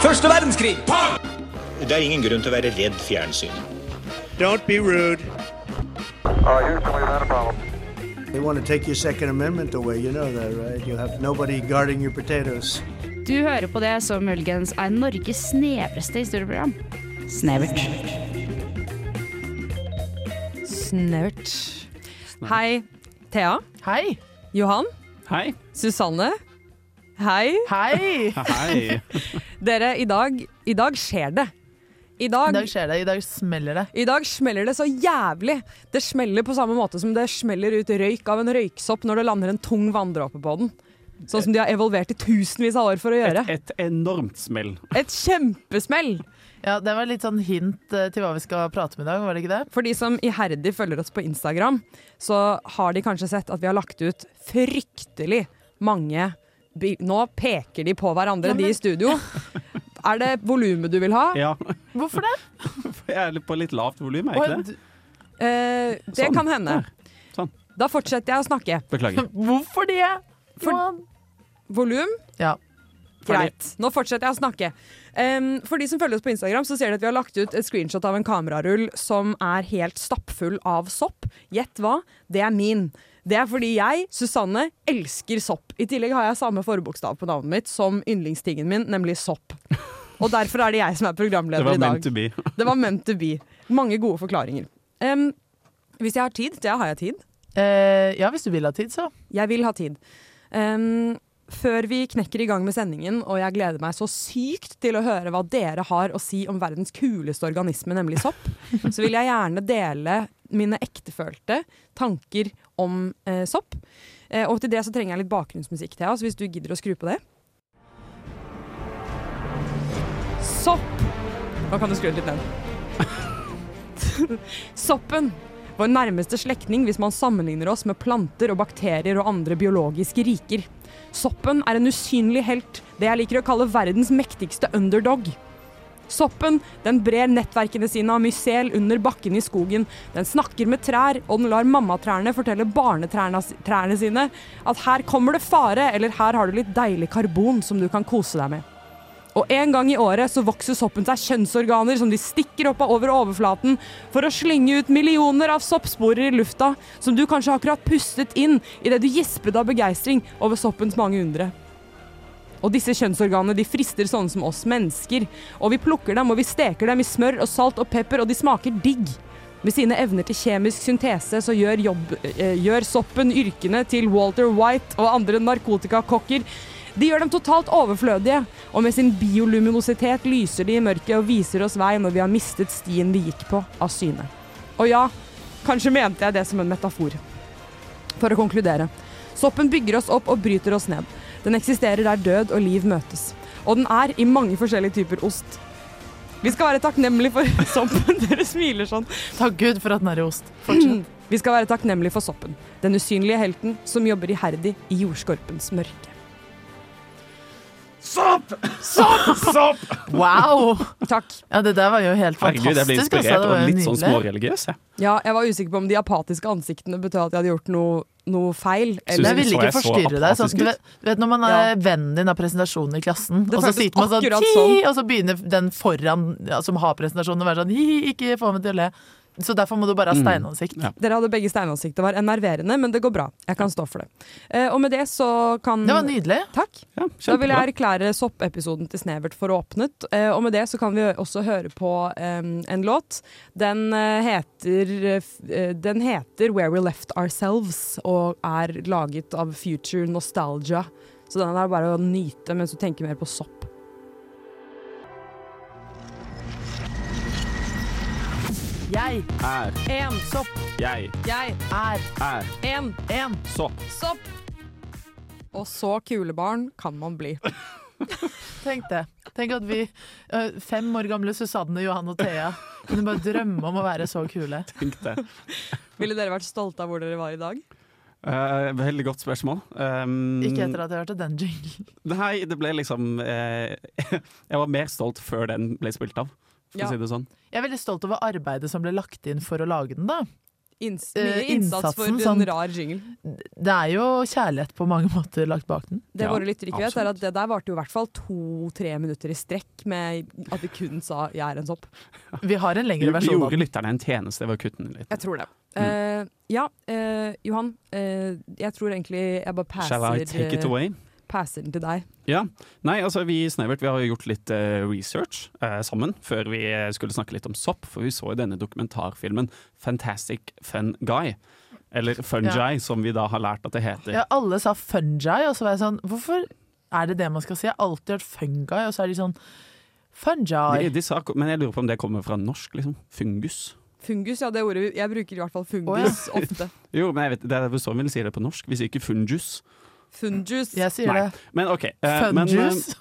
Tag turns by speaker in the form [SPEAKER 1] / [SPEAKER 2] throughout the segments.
[SPEAKER 1] Første verdenskrig.
[SPEAKER 2] Det er ingen grunn til å være redd fjernsyn.
[SPEAKER 3] Don't be rude.
[SPEAKER 4] Uh, Houston, we've had a problem.
[SPEAKER 5] They want to take your Second Amendment away. You know that, right? You have nobody guarding your potatoes.
[SPEAKER 6] Du hører på det som muligens er Norges snevreste historieprogram. Snevert.
[SPEAKER 7] Snevert. Hei, Thea.
[SPEAKER 8] Hei.
[SPEAKER 7] Johan.
[SPEAKER 9] Hei.
[SPEAKER 7] Susanne. Hei.
[SPEAKER 8] Hei!
[SPEAKER 9] Hei.
[SPEAKER 7] Dere, i dag, i dag skjer det. I
[SPEAKER 8] I
[SPEAKER 7] dag,
[SPEAKER 8] dag skjer det. I dag smeller det.
[SPEAKER 7] I dag smeller det så jævlig. Det smeller på samme måte som det smeller ut røyk av en røyksopp når det lander en tung vanndråpe på den. Sånn som de har evolvert i tusenvis av år for å gjøre.
[SPEAKER 9] Et, et enormt smell.
[SPEAKER 7] Et kjempesmell!
[SPEAKER 8] Ja, Det var litt sånn hint eh, til hva vi skal prate om i dag, var det ikke det?
[SPEAKER 7] For de som iherdig følger oss på Instagram, så har de kanskje sett at vi har lagt ut fryktelig mange bil Nå peker de på hverandre, de i studio. Er det volumet du vil ha?
[SPEAKER 9] Ja,
[SPEAKER 8] Hvorfor det?
[SPEAKER 9] for jeg er litt på litt lavt volum, er jeg
[SPEAKER 8] Oi,
[SPEAKER 9] ikke det?
[SPEAKER 8] d-
[SPEAKER 7] Eh, det
[SPEAKER 9] Sånn.
[SPEAKER 7] kan hende.
[SPEAKER 9] Sånn.
[SPEAKER 7] Da fortsetter jeg å snakke.
[SPEAKER 9] Beklager.
[SPEAKER 8] Hvorfor det?
[SPEAKER 7] For-
[SPEAKER 8] Johan?
[SPEAKER 7] Volum
[SPEAKER 8] Ja.
[SPEAKER 7] Greit. Nå fortsetter jeg å snakke. Em, for de som følger oss på Instagram, så ser de at vi har lagt ut et screenshot av en kamerarull som er helt stappfull av sopp. Gjett hva? Det er min. Det er fordi jeg, Susanne, elsker sopp. I tillegg har jeg samme forbokstav på navnet mitt som yndlingstingen min, nemlig sopp. Og derfor er det jeg som er
[SPEAKER 9] Det
[SPEAKER 7] programleder
[SPEAKER 9] var
[SPEAKER 7] i dag.
[SPEAKER 9] meant to be.
[SPEAKER 7] Det var meant to be. Mange gode forklaringer. Em, hvis jeg har tid, det har jeg tid.
[SPEAKER 8] Eh, ja, hvis du vil ha tid, så.
[SPEAKER 7] Jeg vil ha tid. Ehm, før vi knekker i gang med sendingen, og jeg gleder meg så sykt til å høre hva dere har å si om verdens kuleste organisme, nemlig sopp, så vil jeg gjerne dele mine ektefølte tanker om eh, sopp. Eh, og til det så trenger jeg litt bakgrunnsmusikk, Thea, så hvis du gidder å skru på det. Sopp! Nå kan du skru det litt ned. Soppen vår nærmeste slektning hvis man sammenligner oss med planter og bakterier og andre biologiske riker. Soppen er en usynlig helt, det jeg liker å kalle verdens mektigste underdog. Soppen den brer nettverkene sine av mysel under bakken i skogen. Den snakker med trær, og den lar mammatrærne fortelle barnetrærne trærne sine at her kommer det fare, eller her har du litt deilig karbon som du kan kose deg med. Og en gang i året så vokser soppen seg kjønnsorganer som de stikker opp av over overflaten for å slynge ut millioner av soppsporer i lufta som du kanskje akkurat pustet inn idet du gispet av begeistring over soppens mange undre. Og disse kjønnsorganene de frister sånne som oss mennesker, og vi plukker dem og vi steker dem i smør og salt og pepper, og de smaker digg. Med sine evner til kjemisk syntese så gjør, jobb, eh, gjør soppen yrkene til Walter White og andre narkotikakokker. De gjør dem totalt overflødige, og med sin bioluminositet lyser de i mørket og viser oss vei når vi har mistet stien vi gikk på, av syne. Og ja, kanskje mente jeg det som en metafor. For å konkludere. Soppen bygger oss opp og bryter oss ned. Den eksisterer der død og liv møtes. Og den er i mange forskjellige typer ost. Vi skal være takknemlige for soppen. Dere smiler sånn.
[SPEAKER 8] Takk Gud for at den er i ost. Fortsett.
[SPEAKER 7] Vi skal være takknemlige for soppen, den usynlige helten som jobber iherdig i jordskorpens mørke.
[SPEAKER 9] Sopp! Sopp! Sopp!
[SPEAKER 8] Wow!
[SPEAKER 7] Takk.
[SPEAKER 8] Ja, det der var jo helt fantastisk.
[SPEAKER 9] Herregud, jeg ble
[SPEAKER 8] altså.
[SPEAKER 9] inspirert
[SPEAKER 8] Det var
[SPEAKER 9] og
[SPEAKER 8] jo
[SPEAKER 9] litt sånn
[SPEAKER 8] nydelig.
[SPEAKER 9] småreligiøs. jeg.
[SPEAKER 7] Ja, jeg var usikker på om de apatiske ansiktene betød at jeg hadde gjort noe, noe feil.
[SPEAKER 8] Jeg
[SPEAKER 7] Eller
[SPEAKER 9] Synes-
[SPEAKER 8] ville
[SPEAKER 9] Så
[SPEAKER 8] ikke
[SPEAKER 9] jeg så
[SPEAKER 8] forstyrre deg. Sånn,
[SPEAKER 9] apatisk
[SPEAKER 8] du,
[SPEAKER 9] ut.
[SPEAKER 8] vet, du vet når man er vennen din av presentasjonen i klassen,
[SPEAKER 7] Det
[SPEAKER 8] og så
[SPEAKER 7] føltes
[SPEAKER 8] sitter man sånn,
[SPEAKER 7] akkurat
[SPEAKER 8] «Ti!»
[SPEAKER 7] sånn.
[SPEAKER 8] og så begynner den foran ja, som har presentasjonen, å være sånn hi, hi, ikke få meg til å le. Så derfor må du bare ha steinansikt.
[SPEAKER 9] Mm. Ja.
[SPEAKER 7] dere hadde begge steinansikt. Det var enerverende, men det går bra. Jeg kan stå for det. Eh, og med det så kan
[SPEAKER 8] Det var nydelig.
[SPEAKER 7] Takk.
[SPEAKER 9] Ja,
[SPEAKER 7] Da vil jeg
[SPEAKER 9] kjempebra.
[SPEAKER 7] erklære soppepisoden til Snevert for åpnet. Eh, og med det så kan vi også høre på eh, en låt. Den, eh, heter, eh, f- eh, den heter 'Where We Left Ourselves' og er laget av Future Nostalgia. Så den er bare å nyte mens du tenker mer på sopp.
[SPEAKER 8] Jeg
[SPEAKER 9] Er,
[SPEAKER 7] En sopp,
[SPEAKER 9] jeg,
[SPEAKER 7] jeg,
[SPEAKER 8] er
[SPEAKER 9] er
[SPEAKER 7] en
[SPEAKER 8] en
[SPEAKER 9] sopp.
[SPEAKER 7] sopp. Og så kulebarn kan man bli.
[SPEAKER 8] Tenk det. Tenk at vi ø, fem år gamle Susanne, Johan og Thea kunne bare drømme om å være så kule.
[SPEAKER 9] Tenk det.
[SPEAKER 7] Ville dere vært stolte av hvor dere var i dag?
[SPEAKER 9] Eh, veldig godt spørsmål. Um,
[SPEAKER 8] Ikke etter at jeg hørte den jinglen.
[SPEAKER 9] Nei, det ble liksom eh, Jeg var mer stolt før den ble spilt av, for
[SPEAKER 7] Ja.
[SPEAKER 9] å si det sånn.
[SPEAKER 8] Jeg er veldig stolt over arbeidet som ble lagt inn for å lage den, da.
[SPEAKER 7] Inns,
[SPEAKER 8] Eh,
[SPEAKER 7] mye innsats for
[SPEAKER 8] innsatsen
[SPEAKER 7] en
[SPEAKER 8] som-
[SPEAKER 7] rar jingle.
[SPEAKER 8] Det er jo kjærlighet på mange måter lagt bak den.
[SPEAKER 7] Det
[SPEAKER 9] Ja,
[SPEAKER 7] våre lyttere ikke vet, er
[SPEAKER 9] absolutt.
[SPEAKER 7] at det der varte jo i hvert fall to-tre minutter i strekk med at vi kun sa 'jeg er en sopp'.
[SPEAKER 8] Vi har en
[SPEAKER 9] Vi
[SPEAKER 8] lengre
[SPEAKER 9] vi
[SPEAKER 8] versjon av
[SPEAKER 9] gjorde
[SPEAKER 8] den.
[SPEAKER 9] lytterne en tjeneste ved å kutte den litt.
[SPEAKER 7] Jeg tror det. Eh, ja, eh, Johan. eh, jeg tror egentlig jeg bare passer,
[SPEAKER 9] Shall I take it
[SPEAKER 7] eh,
[SPEAKER 9] away?
[SPEAKER 7] passer den til deg.
[SPEAKER 9] Ja. Nei, altså vi i Snevert vi har jo gjort litt eh, research eh, sammen før vi eh, skulle snakke litt om sopp, for vi så jo denne dokumentarfilmen Fantastic Fun Guy. Eller Fungi, som vi da har lært at det heter.
[SPEAKER 8] Ja, alle sa fungi, og så var jeg sånn Hvorfor er det det man skal si? Jeg har alltid hørt fungi, og så er de sånn
[SPEAKER 9] De,
[SPEAKER 8] Fungi.
[SPEAKER 9] de sa, men jeg lurer på om det kommer fra norsk, liksom. Fungus.
[SPEAKER 7] Fungus, ja, det ordet vi- Jeg bruker i hvert fall fungus ofte.
[SPEAKER 9] Jo, men jeg vet, det er derfor sånn vil si det på norsk, hvis ikke fungus.
[SPEAKER 7] Fungus.
[SPEAKER 8] Jeg sier
[SPEAKER 9] Nei.
[SPEAKER 8] det.
[SPEAKER 9] Men OK. eh, men, eh,
[SPEAKER 8] Fungus.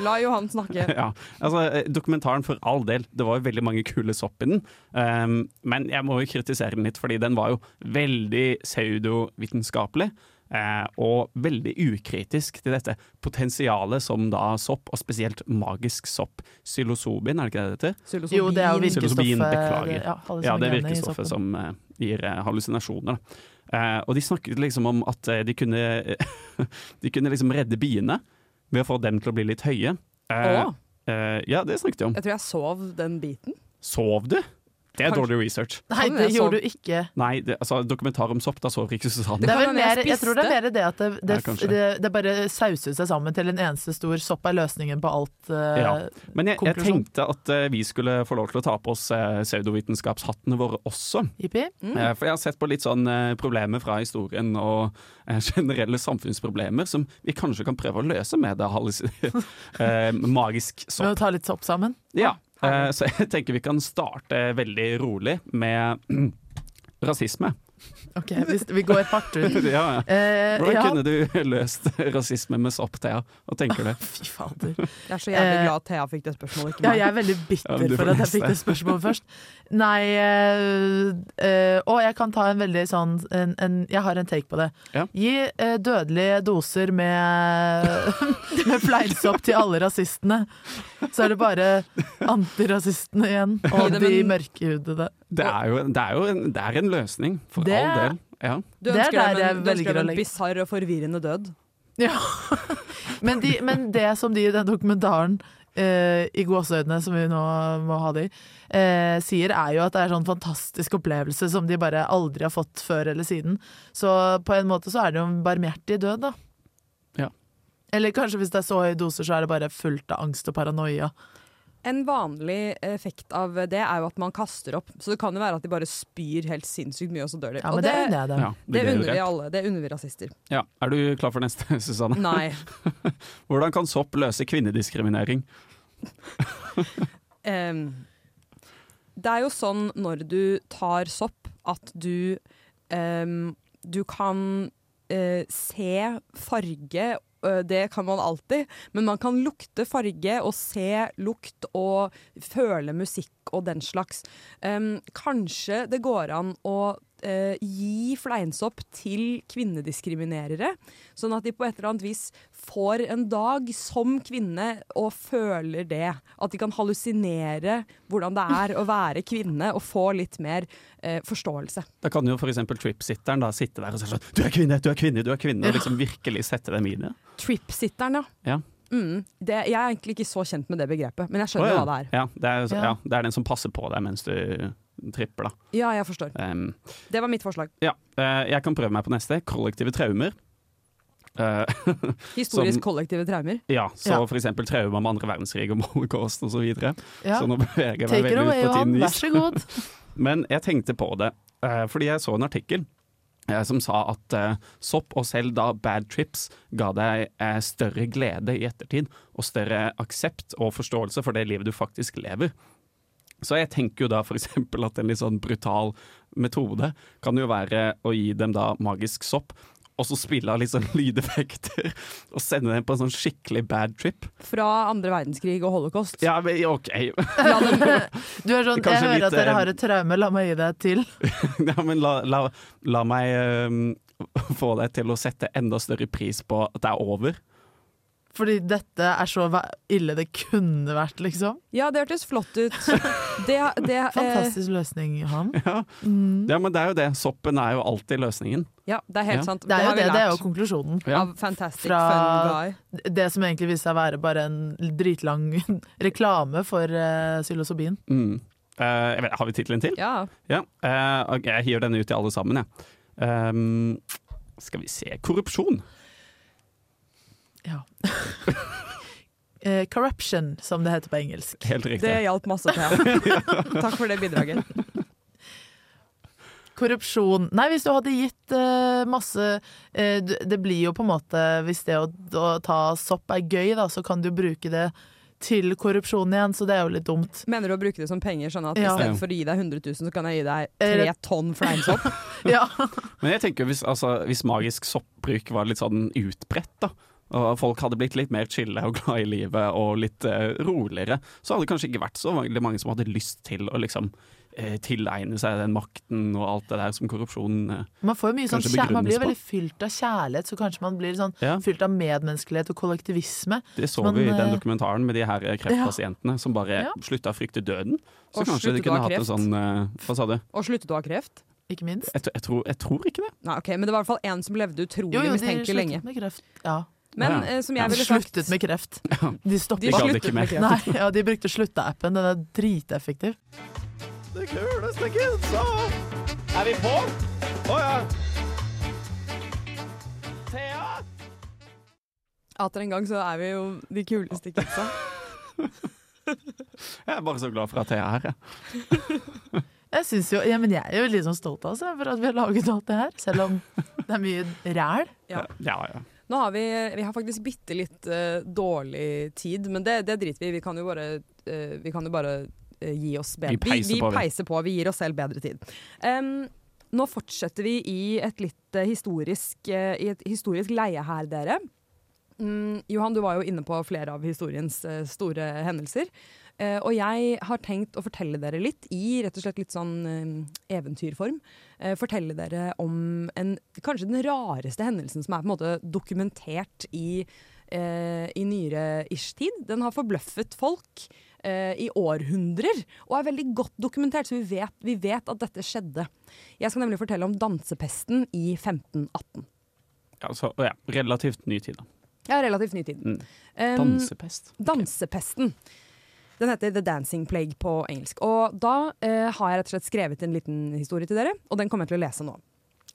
[SPEAKER 7] La Johan snakke.
[SPEAKER 9] ja, altså eh, Dokumentaren for all del, det var jo veldig mange kule sopp i den. ehm, men jeg må jo kritisere den litt, fordi den var jo veldig pseudovitenskapelig. eh, og veldig ukritisk til dette potensialet som da sopp, og spesielt magisk sopp, psilocybin, er det ikke det det heter?
[SPEAKER 7] Psilocybin.
[SPEAKER 8] Jo, det er jo
[SPEAKER 9] Psilocybin,
[SPEAKER 8] virkestoffet
[SPEAKER 9] beklager.
[SPEAKER 8] Ja, alle
[SPEAKER 9] Ja,
[SPEAKER 8] sånne
[SPEAKER 9] det
[SPEAKER 8] greiene i
[SPEAKER 9] virker stoffet
[SPEAKER 8] soppen.
[SPEAKER 9] som eh, gir eh, hallusinasjoner. Da. Eh, og de snakket liksom om at eh, de kunne De kunne liksom redde biene ved å få dem til å bli litt høye. Eh,
[SPEAKER 7] Å,
[SPEAKER 9] eh, ja, det snakket de om.
[SPEAKER 7] jeg tror jeg sov den biten.
[SPEAKER 9] Sov du? Det er
[SPEAKER 7] Kanskje-
[SPEAKER 9] dårlig research.
[SPEAKER 8] Nei,
[SPEAKER 7] Kan
[SPEAKER 8] det
[SPEAKER 7] jeg sov?
[SPEAKER 8] gjorde du ikke.
[SPEAKER 9] Nei, det, altså dokumentar om sopp, da sover ikke
[SPEAKER 8] Det
[SPEAKER 9] Susanne.
[SPEAKER 8] er
[SPEAKER 7] kan
[SPEAKER 8] vel
[SPEAKER 7] hende jeg
[SPEAKER 8] mer, jeg tror det er mer det at det, det,
[SPEAKER 9] Ja, kanskje.
[SPEAKER 8] det, det bare sauser seg sammen til en eneste stor sopp er løsningen på alt. eh, sånn.
[SPEAKER 9] Ja. Men jeg, jeg
[SPEAKER 8] konklusjon.
[SPEAKER 9] tenkte at eh, vi skulle få lov til å ta på oss eh, pseudovitenskapshattene våre også.
[SPEAKER 8] Jippi.
[SPEAKER 9] Eh, For jeg har sett på litt sånn eh, problemer fra historien og eh, generelle samfunnsproblemer som vi kanskje kan prøve å løse med det hallis- eh,
[SPEAKER 8] Med
[SPEAKER 9] magisk
[SPEAKER 8] å
[SPEAKER 9] sopp.
[SPEAKER 8] ta litt sopp sammen.
[SPEAKER 9] Ja, eh,
[SPEAKER 7] herlig.
[SPEAKER 9] så jeg tenker vi kan starte veldig rolig med rasisme.
[SPEAKER 8] Ok, vi, vi går hardt ut.
[SPEAKER 9] Ja, ja.
[SPEAKER 8] Eh,
[SPEAKER 9] Hvordan
[SPEAKER 8] ja.
[SPEAKER 9] kunne du løst rasisme med sopp, Thea? Hva tenker du?
[SPEAKER 8] Fy fader.
[SPEAKER 7] Jeg er så jævlig
[SPEAKER 8] Eh,
[SPEAKER 7] glad at Thea fikk det spørsmålet. Ikke
[SPEAKER 8] Ja,
[SPEAKER 7] meg.
[SPEAKER 8] jeg er veldig
[SPEAKER 9] Ja,
[SPEAKER 8] bitter
[SPEAKER 9] men du får
[SPEAKER 8] for at jeg
[SPEAKER 9] lese
[SPEAKER 8] fikk
[SPEAKER 9] det.
[SPEAKER 8] det spørsmålet først. Nei eh, eh, Og jeg kan ta en veldig sånn en, en, Jeg har en take på det.
[SPEAKER 9] Ja.
[SPEAKER 8] Gi eh, dødelige doser med, med fleinsopp til alle rasistene. Så er det bare antirasistene igjen,
[SPEAKER 7] Gi
[SPEAKER 8] og
[SPEAKER 7] dem
[SPEAKER 8] de
[SPEAKER 7] en-
[SPEAKER 8] mørkehudede.
[SPEAKER 9] Det er jo, det er jo en, det er en løsning, for
[SPEAKER 8] Det-
[SPEAKER 9] all del. Ja.
[SPEAKER 7] Du
[SPEAKER 8] Det er
[SPEAKER 7] ønsker
[SPEAKER 8] der
[SPEAKER 7] deg en-
[SPEAKER 8] jeg
[SPEAKER 7] du ønsker
[SPEAKER 8] velger å
[SPEAKER 7] deg en
[SPEAKER 8] legge-
[SPEAKER 7] bisarr og forvirrende død.
[SPEAKER 8] Ja. men, de, men det som de i den dokumentaren eh, i gåseøynene, som vi nå må ha de, eh, sier er jo at det er sånn fantastisk opplevelse som de bare aldri har fått før eller siden. Så på en måte så er det jo en barmhjertig død, da.
[SPEAKER 9] Ja.
[SPEAKER 8] Eller kanskje hvis det er så høye doser, så er det bare fullt av angst og paranoia.
[SPEAKER 7] En vanlig effekt av det er jo at man kaster opp. Så det kan jo være at de bare spyr helt sinnssykt mye, og så dør de.
[SPEAKER 8] Ja,
[SPEAKER 7] og
[SPEAKER 8] men det unner jeg dem.
[SPEAKER 9] Ja,
[SPEAKER 7] det
[SPEAKER 9] blir
[SPEAKER 7] unner vi
[SPEAKER 9] rett?
[SPEAKER 7] alle. Det unner vi rasister.
[SPEAKER 9] Ja. Er du klar for neste, Susanne?
[SPEAKER 7] Nei.
[SPEAKER 9] Hvordan kan sopp løse kvinnediskriminering?
[SPEAKER 7] Em, det er jo sånn når du tar sopp at du em, Du kan eh, se farge, ø, det kan man alltid, men man kan lukte farge og se lukt og føle musikk og den slags. Em, kanskje det går an å eh, gi fleinsopp til kvinnediskriminerere, sånn at de på et eller annet vis får en dag som kvinne og føler det. At de kan hallusinere hvordan det er å være kvinne og få litt mer eh, forståelse.
[SPEAKER 9] Da kan jo f.eks. tripsitteren da sitte der og si sånn 'du er kvinne, du er kvinne', du er kvinne, og liksom virkelig sette dem i det.
[SPEAKER 7] Trip-sitteren, ja.
[SPEAKER 9] Ja.
[SPEAKER 7] Mm, det, jeg er egentlig ikke så kjent med det begrepet, men jeg
[SPEAKER 9] Å,
[SPEAKER 7] skjønner
[SPEAKER 9] ja.
[SPEAKER 7] hva det er.
[SPEAKER 9] Ja, det er, jo-
[SPEAKER 8] Ja.
[SPEAKER 9] ja, det er den som passer på deg mens du tripper, da.
[SPEAKER 7] Ja, jeg forstår.
[SPEAKER 9] Ehm,
[SPEAKER 7] Det var mitt forslag.
[SPEAKER 9] ja. Eh, jeg kan prøve meg på neste. Kollektive traumer. Eh,
[SPEAKER 7] Historisk
[SPEAKER 9] Som-
[SPEAKER 7] kollektive traumer.
[SPEAKER 9] ja, så
[SPEAKER 8] Ja.
[SPEAKER 9] for eksempel traumer med andre verdenskrig og holocaust osv. Så, videre.
[SPEAKER 8] Ja.
[SPEAKER 9] så nå beveger jeg meg
[SPEAKER 8] Take it
[SPEAKER 9] veldig
[SPEAKER 8] away,
[SPEAKER 9] ut på
[SPEAKER 8] Johan.
[SPEAKER 9] tynn
[SPEAKER 8] Vær
[SPEAKER 9] is.
[SPEAKER 8] så god.
[SPEAKER 9] Men jeg tenkte på det, eh, fordi jeg så en artikkel eh, som sa at eh, sopp og selv da bad trips ga deg eh, større glede i ettertid, og større aksept og forståelse for det livet du faktisk lever. Så jeg tenker jo da f.eks. at en litt sånn brutal metode kan jo være å gi dem da magisk sopp, og så spille av litt sånn lydeffekter, og sende dem på en sånn skikkelig bad trip.
[SPEAKER 7] Fra andre verdenskrig og holocaust.
[SPEAKER 9] Ja, men OK.
[SPEAKER 7] La dem
[SPEAKER 8] Du er sånn,
[SPEAKER 9] Kanskje
[SPEAKER 8] jeg hører
[SPEAKER 9] litt,
[SPEAKER 8] at dere
[SPEAKER 9] eh,
[SPEAKER 8] har et traume, la meg gi det til.
[SPEAKER 9] Ja, men la, la, la eh, meg øhm, få deg til å sette enda større pris på at det er over.
[SPEAKER 8] Fordi dette er så væ- ille det kunne vært, liksom.
[SPEAKER 7] Ja, det hørtes flott ut. Det, det, eh,
[SPEAKER 8] Fantastisk løsning, han.
[SPEAKER 7] Mm.
[SPEAKER 9] Ja, men det er jo det. Soppen er jo alltid løsningen.
[SPEAKER 7] ja, det er helt
[SPEAKER 9] Ja.
[SPEAKER 7] sant.
[SPEAKER 8] Det er jo
[SPEAKER 7] har vi
[SPEAKER 8] det, det er jo
[SPEAKER 7] lært
[SPEAKER 8] konklusjonen.
[SPEAKER 9] Ja.
[SPEAKER 7] Av Fantastic Fun
[SPEAKER 8] Fra-
[SPEAKER 7] Guy.
[SPEAKER 8] Det som egentlig viste seg å være bare en dritlang reklame for uh, psilocybin.
[SPEAKER 9] Mm. Eh, jeg vet, har vi tittelen til?
[SPEAKER 7] Ja.
[SPEAKER 9] Ja. eh, ok, jeg hiver denne ut til alle sammen, jeg. Ehm, skal vi se Korrupsjon.
[SPEAKER 8] Ja. Eh, corruption, som det heter på engelsk.
[SPEAKER 9] Helt riktig.
[SPEAKER 7] Det hjalp masse til. Takk for det bidraget.
[SPEAKER 8] Korrupsjon Nei, hvis du hadde gitt eh, masse eh, du- Det blir jo på en måte Hvis det å, å ta sopp er gøy, da, så kan du bruke det til korrupsjon igjen, så det er jo litt dumt.
[SPEAKER 7] Mener du å bruke det som penger, sånn at
[SPEAKER 8] Ja.
[SPEAKER 7] istedenfor å gi deg 100 000, så kan jeg gi deg
[SPEAKER 8] Eller-
[SPEAKER 7] tre tonn fleinsopp?
[SPEAKER 8] Ja,
[SPEAKER 9] Men jeg tenker jo hvis, altså, hvis magisk soppbruk var litt sånn utbredt, da. Og folk hadde blitt litt mer chille og glad i livet og litt eh, roligere. Så hadde det kanskje ikke vært så veldig mange som hadde lyst til å liksom eh, tilegne seg den makten og alt det der som korrupsjon eh.
[SPEAKER 8] Man, får jo mye sånn,
[SPEAKER 9] Kanskje
[SPEAKER 8] kjær- man blir jo veldig
[SPEAKER 9] begrunnes
[SPEAKER 8] fylt av kjærlighet, så kanskje man blir sånn
[SPEAKER 9] Ja.
[SPEAKER 8] fylt av medmenneskelighet og kollektivisme.
[SPEAKER 9] Det så
[SPEAKER 8] Men,
[SPEAKER 9] vi i den
[SPEAKER 8] eh,
[SPEAKER 9] dokumentaren med de her eh, kreftpasientene som bare
[SPEAKER 8] Ja.
[SPEAKER 9] slutta å frykte døden. Så
[SPEAKER 7] Og
[SPEAKER 9] kanskje de
[SPEAKER 7] sluttet å
[SPEAKER 9] kunne
[SPEAKER 7] ha
[SPEAKER 9] hatt en
[SPEAKER 7] kreft.
[SPEAKER 9] sånn eh, Hva sa du?
[SPEAKER 7] Og sluttet å ha kreft?
[SPEAKER 8] Ikke minst.
[SPEAKER 9] Jeg, t- jeg, tror, jeg tror ikke det.
[SPEAKER 7] Nei, ok, Men det var i hvert fall en som levde utrolig
[SPEAKER 8] Jo, jo, de
[SPEAKER 7] mistenkelig lenge.
[SPEAKER 8] sluttet med kreft. Ja.
[SPEAKER 7] Men
[SPEAKER 9] Ja.
[SPEAKER 7] eh, som
[SPEAKER 9] Ja,
[SPEAKER 7] jeg
[SPEAKER 8] De
[SPEAKER 7] ville sagt
[SPEAKER 8] sluttet med kreft. De
[SPEAKER 7] De
[SPEAKER 8] stoppet.
[SPEAKER 9] gadd
[SPEAKER 7] sluttet
[SPEAKER 9] ikke
[SPEAKER 7] med
[SPEAKER 9] mer.
[SPEAKER 7] kreft.
[SPEAKER 8] Nei, ja, de brukte slutta-appen. Den er driteffektiv.
[SPEAKER 9] Det kules, det gutta! Er vi på? Å ja. Thea!
[SPEAKER 7] Atter en gang så er vi jo de kuleste kidsa.
[SPEAKER 9] Jeg er bare så glad for at jeg er her. jeg.
[SPEAKER 8] Jeg, synes jo, ja, men jeg er jo litt sånn stolt av oss jeg, for at vi har laget alt det her, selv om det er mye ræl.
[SPEAKER 7] Ja.
[SPEAKER 9] Ja, ja.
[SPEAKER 7] Nå har vi, vi har faktisk bitte litt eh, dårlig tid, men det, det driter vi i. Vi kan jo bare, eh, vi kan jo bare eh, gi oss bedre
[SPEAKER 9] Vi peiser
[SPEAKER 7] vi,
[SPEAKER 9] på, vi.
[SPEAKER 7] peiser på. Vi gir oss selv bedre tid. Em, nå fortsetter vi i et litt eh, historisk, eh, i et historisk leie her, dere. Mm, Johan, du var jo inne på flere av historiens eh, store hendelser. Eh, og jeg har tenkt å fortelle dere litt, i rett og slett litt sånn eh, eventyrform, eh, fortelle dere om en, kanskje den rareste hendelsen som er på en måte dokumentert i, eh, i nyere ish-tid. Den har forbløffet folk eh, i århundrer, og er veldig godt dokumentert, så vi vet, vi vet at dette skjedde. Jeg skal nemlig fortelle om dansepesten i 1518.
[SPEAKER 9] Ja, så, Altså, ja. Relativt ny tid, da.
[SPEAKER 7] Ja, relativt ny tid.
[SPEAKER 9] Mm.
[SPEAKER 7] Um,
[SPEAKER 9] Dansepest.
[SPEAKER 7] Dansepesten. Den heter The Dancing Plague på engelsk. Og da eh, har jeg rett og slett skrevet en liten historie til dere, og den kommer jeg til å lese nå.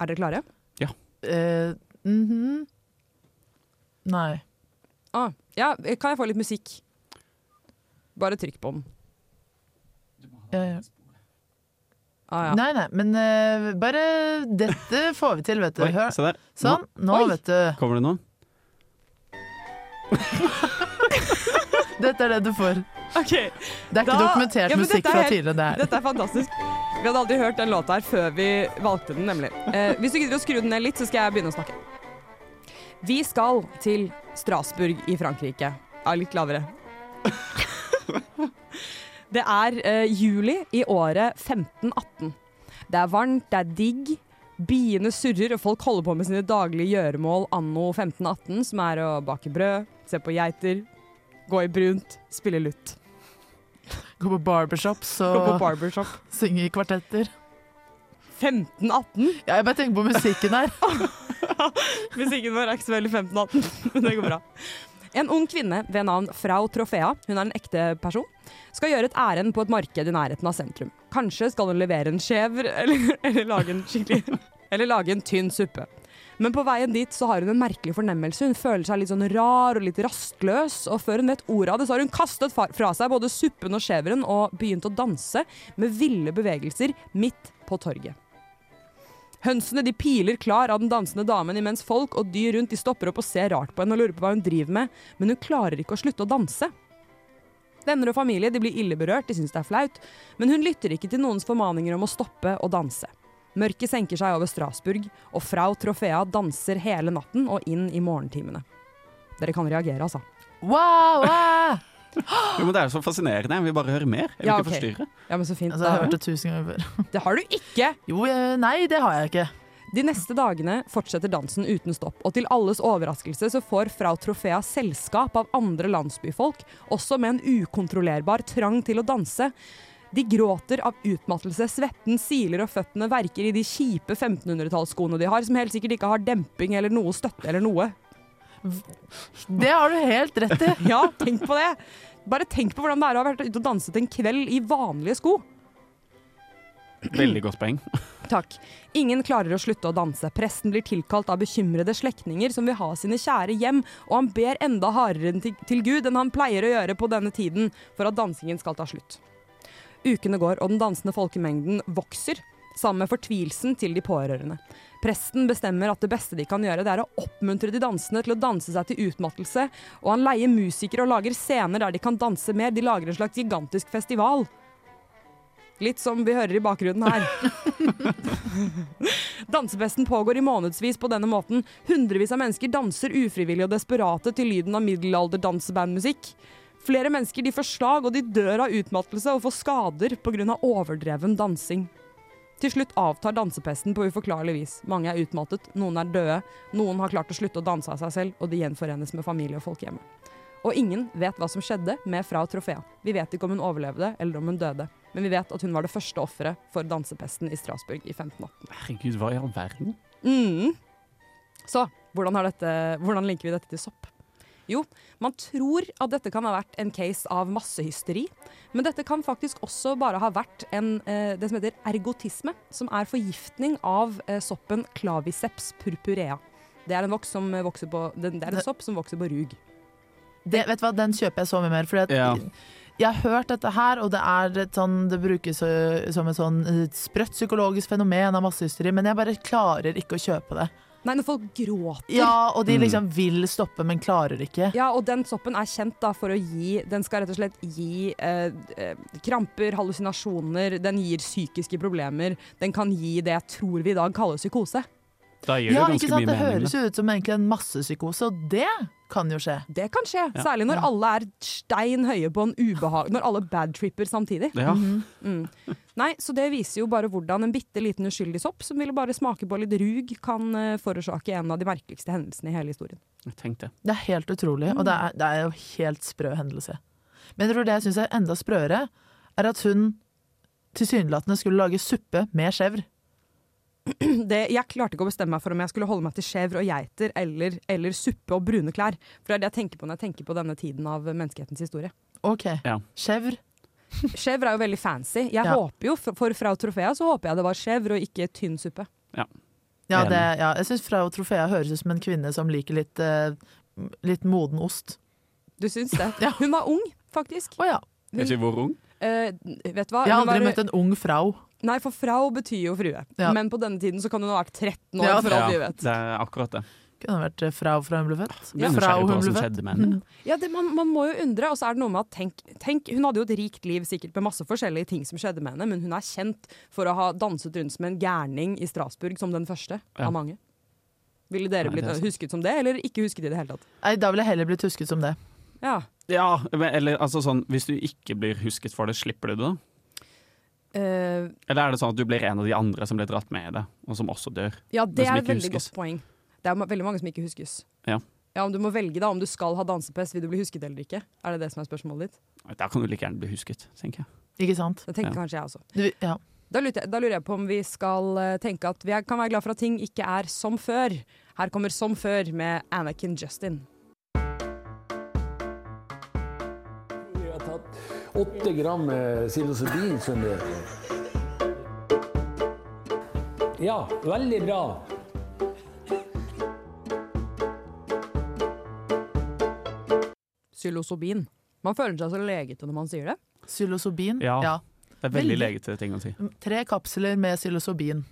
[SPEAKER 7] Er dere klare?
[SPEAKER 8] Eh, mhm. Nei.
[SPEAKER 7] Ah, ja, kan jeg få litt musikk? Bare trykk på den.
[SPEAKER 8] Ja, ja.
[SPEAKER 7] Ah, ja.
[SPEAKER 8] Nei, nei, men eh, bare Dette får vi til, vet du.
[SPEAKER 9] Oi,
[SPEAKER 8] Hør.
[SPEAKER 9] se der.
[SPEAKER 8] Sånn. Nå,
[SPEAKER 7] Oi.
[SPEAKER 8] vet du.
[SPEAKER 9] Kommer det noe?
[SPEAKER 8] Dette er det du får.
[SPEAKER 7] Ok,
[SPEAKER 8] Det er ikke
[SPEAKER 7] Da-
[SPEAKER 8] dokumentert
[SPEAKER 7] Ja, men
[SPEAKER 8] musikk
[SPEAKER 7] dette er
[SPEAKER 8] fra
[SPEAKER 7] helt-
[SPEAKER 8] tidligere. Det her.
[SPEAKER 7] Dette er fantastisk. Vi hadde aldri hørt den låta her før vi valgte den, nemlig. Eh, hvis du gidder å skru den ned litt, så skal jeg begynne å snakke. Vi skal til Strasbourg i Frankrike. Ja, litt lavere. Det er eh, juli i året 1518. Det er varmt, det er digg. Biene surrer, og folk holder på med sine daglige gjøremål anno 1518, som er å bake brød, se på geiter, gå i brunt, spille lutt,
[SPEAKER 8] Gå på barbershops
[SPEAKER 7] gå på
[SPEAKER 8] og
[SPEAKER 7] barbershop.
[SPEAKER 8] synge i kvartetter.
[SPEAKER 7] 1518.
[SPEAKER 8] Ja, jeg bare tenker på musikken her.
[SPEAKER 7] Musikken vår er ikke så veldig 1518, men det går bra. En ung kvinne ved navn Frau Trofea, hun er en ekte person, skal gjøre et ærend på et marked i nærheten av sentrum. Kanskje skal hun levere en skjever, eller, eller lage en skikkelig Eller lage en tynn suppe. Men på veien dit så har hun en merkelig fornemmelse. Hun føler seg litt sånn rar og litt rastløs, og før hun vet ordet av det, så har hun kastet fa- fra seg både suppen og skjeveren og begynt å danse med ville bevegelser midt på torget. Hønsene de piler klar av den dansende damen imens folk og dyr rundt de stopper opp og ser rart på henne og lurer på hva hun driver med, men hun klarer ikke å slutte å danse. Venner og familie de blir ille berørt, de syns det er flaut, men hun lytter ikke til noens formaninger om å stoppe å danse. Mørket senker seg over Strasbourg, og Frau Trofea danser hele natten og inn i morgentimene. Dere kan reagere, altså.
[SPEAKER 8] Wow, wow.
[SPEAKER 9] Jo, men det er så fascinerende. Jeg vil bare høre mer. Jeg vil
[SPEAKER 7] Ja,
[SPEAKER 9] ikke
[SPEAKER 7] ok.
[SPEAKER 9] forstyrre.
[SPEAKER 7] Ja, men så fint.
[SPEAKER 8] Altså, jeg har
[SPEAKER 7] Da.
[SPEAKER 8] hørt det tusen ganger før.
[SPEAKER 7] Det har du ikke!
[SPEAKER 8] Jo, jeg, nei, det har jeg ikke.
[SPEAKER 7] De neste dagene fortsetter dansen uten stopp, og til alles overraskelse så får Frau Trofea selskap av andre landsbyfolk, også med en ukontrollerbar trang til å danse. De gråter av utmattelse, svetten siler og føttene verker i de kjipe 1500-tallsskoene de har, som helt sikkert ikke har demping eller noe støtte eller noe.
[SPEAKER 8] Det har du helt rett i.
[SPEAKER 7] Ja, tenk på det! Bare tenk på hvordan det er å ha vært ute og danset en kveld i vanlige sko.
[SPEAKER 9] Veldig godt poeng.
[SPEAKER 7] Takk. Ingen klarer å slutte å danse. Presten blir tilkalt av bekymrede slektninger som vil ha sine kjære hjem, og han ber enda hardere til, til Gud enn han pleier å gjøre på denne tiden for at dansingen skal ta slutt. Ukene går, og den dansende folkemengden vokser, sammen med fortvilelsen til de pårørende. Presten bestemmer at det beste de kan gjøre, det er å oppmuntre de dansende til å danse seg til utmattelse, og han leier musikere og lager scener der de kan danse mer. De lager en slags gigantisk festival. Litt som vi hører i bakgrunnen her. Dansefesten pågår i månedsvis på denne måten. Hundrevis av mennesker danser ufrivillig og desperate til lyden av middelalderdansebandmusikk. Flere mennesker de får slag, og de dør av utmattelse og får skader pga. overdreven dansing. Til slutt avtar dansepesten på uforklarlig vis. Mange er utmattet, noen er døde, noen har klart å slutte å danse av seg selv, og de gjenforenes med familie og folk hjemme. Og ingen vet hva som skjedde med Frau Trofea. Vi vet ikke om hun overlevde, eller om hun døde. Men vi vet at hun var det første offeret for dansepesten i Strasbourg i 1580.
[SPEAKER 9] Herregud, hva i all verden?
[SPEAKER 7] Mm. Så hvordan, har dette, hvordan linker vi dette til sopp? Jo, man tror at dette kan ha vært en case av massehysteri, men dette kan faktisk også bare ha vært en, eh, det som heter ergotisme, som er forgiftning av eh, soppen claviceps purpurea. Det er en, voks som vokser på, det det er en sopp som vokser på rug.
[SPEAKER 8] Det, vet du hva, Den kjøper jeg så mye mer. Fordi at
[SPEAKER 9] Ja.
[SPEAKER 8] Jeg har hørt dette her, og det, er et sånn, det brukes ø, som et sånn ø, sprøtt psykologisk fenomen av massehysteri, men jeg bare klarer ikke å kjøpe det.
[SPEAKER 7] Nei, når folk gråter.
[SPEAKER 8] Ja, Og de liksom vil stoppe, men klarer ikke.
[SPEAKER 7] Ja, og den soppen er kjent da for å gi Den skal rett og slett gi eh, eh, kramper, hallusinasjoner, den gir psykiske problemer. Den kan gi det jeg tror vi i dag kaller psykose.
[SPEAKER 9] Da gir
[SPEAKER 8] Ja,
[SPEAKER 9] det
[SPEAKER 8] ikke
[SPEAKER 9] ganske
[SPEAKER 8] sant?
[SPEAKER 9] mye
[SPEAKER 8] Det
[SPEAKER 9] mening. liksom.
[SPEAKER 8] høres
[SPEAKER 9] da.
[SPEAKER 8] jo ut som egentlig en massepsykose, og det kan jo skje.
[SPEAKER 7] Det kan skje, særlig når alle er stein høye på en ubehag Når alle badtripper samtidig.
[SPEAKER 9] Ja.
[SPEAKER 8] Mhm.
[SPEAKER 7] Nei, så det viser jo bare hvordan en bitte liten uskyldig sopp som ville bare smake på litt rug, kan eh, forårsake en av de merkeligste hendelsene i hele historien.
[SPEAKER 9] Tenk det.
[SPEAKER 8] Det er helt utrolig, og det er, det er jo helt sprø hendelse. Men jeg tror det jeg syns er enda sprøere, er at hun tilsynelatende skulle lage suppe med skjevr.
[SPEAKER 7] Det, jeg klarte ikke å bestemme meg for om jeg skulle holde meg til skjevr og geiter eller, eller suppe og brune klær. For det er det jeg tenker på når jeg tenker på denne tiden av menneskehetens historie.
[SPEAKER 8] OK,
[SPEAKER 9] Ja.
[SPEAKER 8] skjevr.
[SPEAKER 7] Skjevr er jo veldig fancy. Jeg
[SPEAKER 8] Ja.
[SPEAKER 7] håper jo, for, for Frau Trofea så håper jeg det var skjevr og ikke tynn suppe.
[SPEAKER 8] Ja,
[SPEAKER 9] Enig.
[SPEAKER 8] det, ja, jeg syns Frau Trofea høres ut som en kvinne som liker litt, eh, litt moden ost.
[SPEAKER 7] Du syns det?
[SPEAKER 8] Ja.
[SPEAKER 7] Hun var ung, faktisk.
[SPEAKER 8] Å ja.
[SPEAKER 9] Vet ikke hvor ung.
[SPEAKER 7] Eh, vet du hva?
[SPEAKER 8] Jeg har
[SPEAKER 7] Hun var-
[SPEAKER 8] aldri møtt en ung frau.
[SPEAKER 7] Nei, for frau betyr jo frue.
[SPEAKER 8] Ja.
[SPEAKER 7] Men på denne tiden så kan hun ha vært 13 år,
[SPEAKER 8] Ja.
[SPEAKER 7] for alt vi vet.
[SPEAKER 9] det er akkurat det.
[SPEAKER 8] Kunne vært eh, frau fra hun ble født.
[SPEAKER 9] Jeg blir
[SPEAKER 8] Fra Mhm.
[SPEAKER 9] nysgjerrig
[SPEAKER 8] hun
[SPEAKER 9] på hva
[SPEAKER 8] ble
[SPEAKER 9] som
[SPEAKER 8] født.
[SPEAKER 9] skjedde med henne.
[SPEAKER 7] Ja, det, man, man må jo undre, og så er det noe med at tenk, tenk, hun hadde jo et rikt liv sikkert med masse forskjellige ting som skjedde med henne, men hun er kjent for å ha danset rundt som en gærning i Strasbourg som den første
[SPEAKER 9] Ja.
[SPEAKER 7] av mange. Ville dere
[SPEAKER 9] Nei, det
[SPEAKER 7] blitt
[SPEAKER 9] er sant.
[SPEAKER 7] husket som det, eller ikke husket i det hele tatt?
[SPEAKER 8] Nei, da ville jeg heller blitt husket som det.
[SPEAKER 7] Ja.
[SPEAKER 9] Ja, men- eller altså sånn Hvis du ikke blir husket for det, slipper du det da?
[SPEAKER 7] Eh,
[SPEAKER 9] Eller er det sånn at du blir en av de andre som blir dratt med i det, og som også dør?
[SPEAKER 7] ja, det
[SPEAKER 9] Men som
[SPEAKER 7] er et
[SPEAKER 9] ikke
[SPEAKER 7] veldig
[SPEAKER 9] huskes.
[SPEAKER 7] godt poeng. Det er ma- veldig mange som ikke huskes.
[SPEAKER 9] Ja.
[SPEAKER 7] Ja, om Du må velge da, om du skal ha dansepest, vil du bli husket eller ikke? Er det det som er spørsmålet ditt?
[SPEAKER 9] Da kan du like gjerne bli husket, tenker jeg.
[SPEAKER 8] Ikke sant?
[SPEAKER 7] Det tenker
[SPEAKER 9] Ja.
[SPEAKER 7] kanskje jeg også.
[SPEAKER 8] Du, ja.
[SPEAKER 7] Da lurer, jeg, da lurer jeg på om vi skal eh, tenke at vi er, kan være glad for at ting ikke er som før. Her kommer Som før med Anakin Justin.
[SPEAKER 1] Jeg har tatt åtte gram eh, psilocybin, skjønner du. Ja, veldig bra.
[SPEAKER 7] Psilosobin. Man føler seg så legete når man sier det.
[SPEAKER 8] Psilocybin.
[SPEAKER 9] Ja.
[SPEAKER 8] ja.
[SPEAKER 9] Det er veldig,
[SPEAKER 8] Veldig.
[SPEAKER 9] legete ting å si.
[SPEAKER 8] Tre kapsler med psilocybin.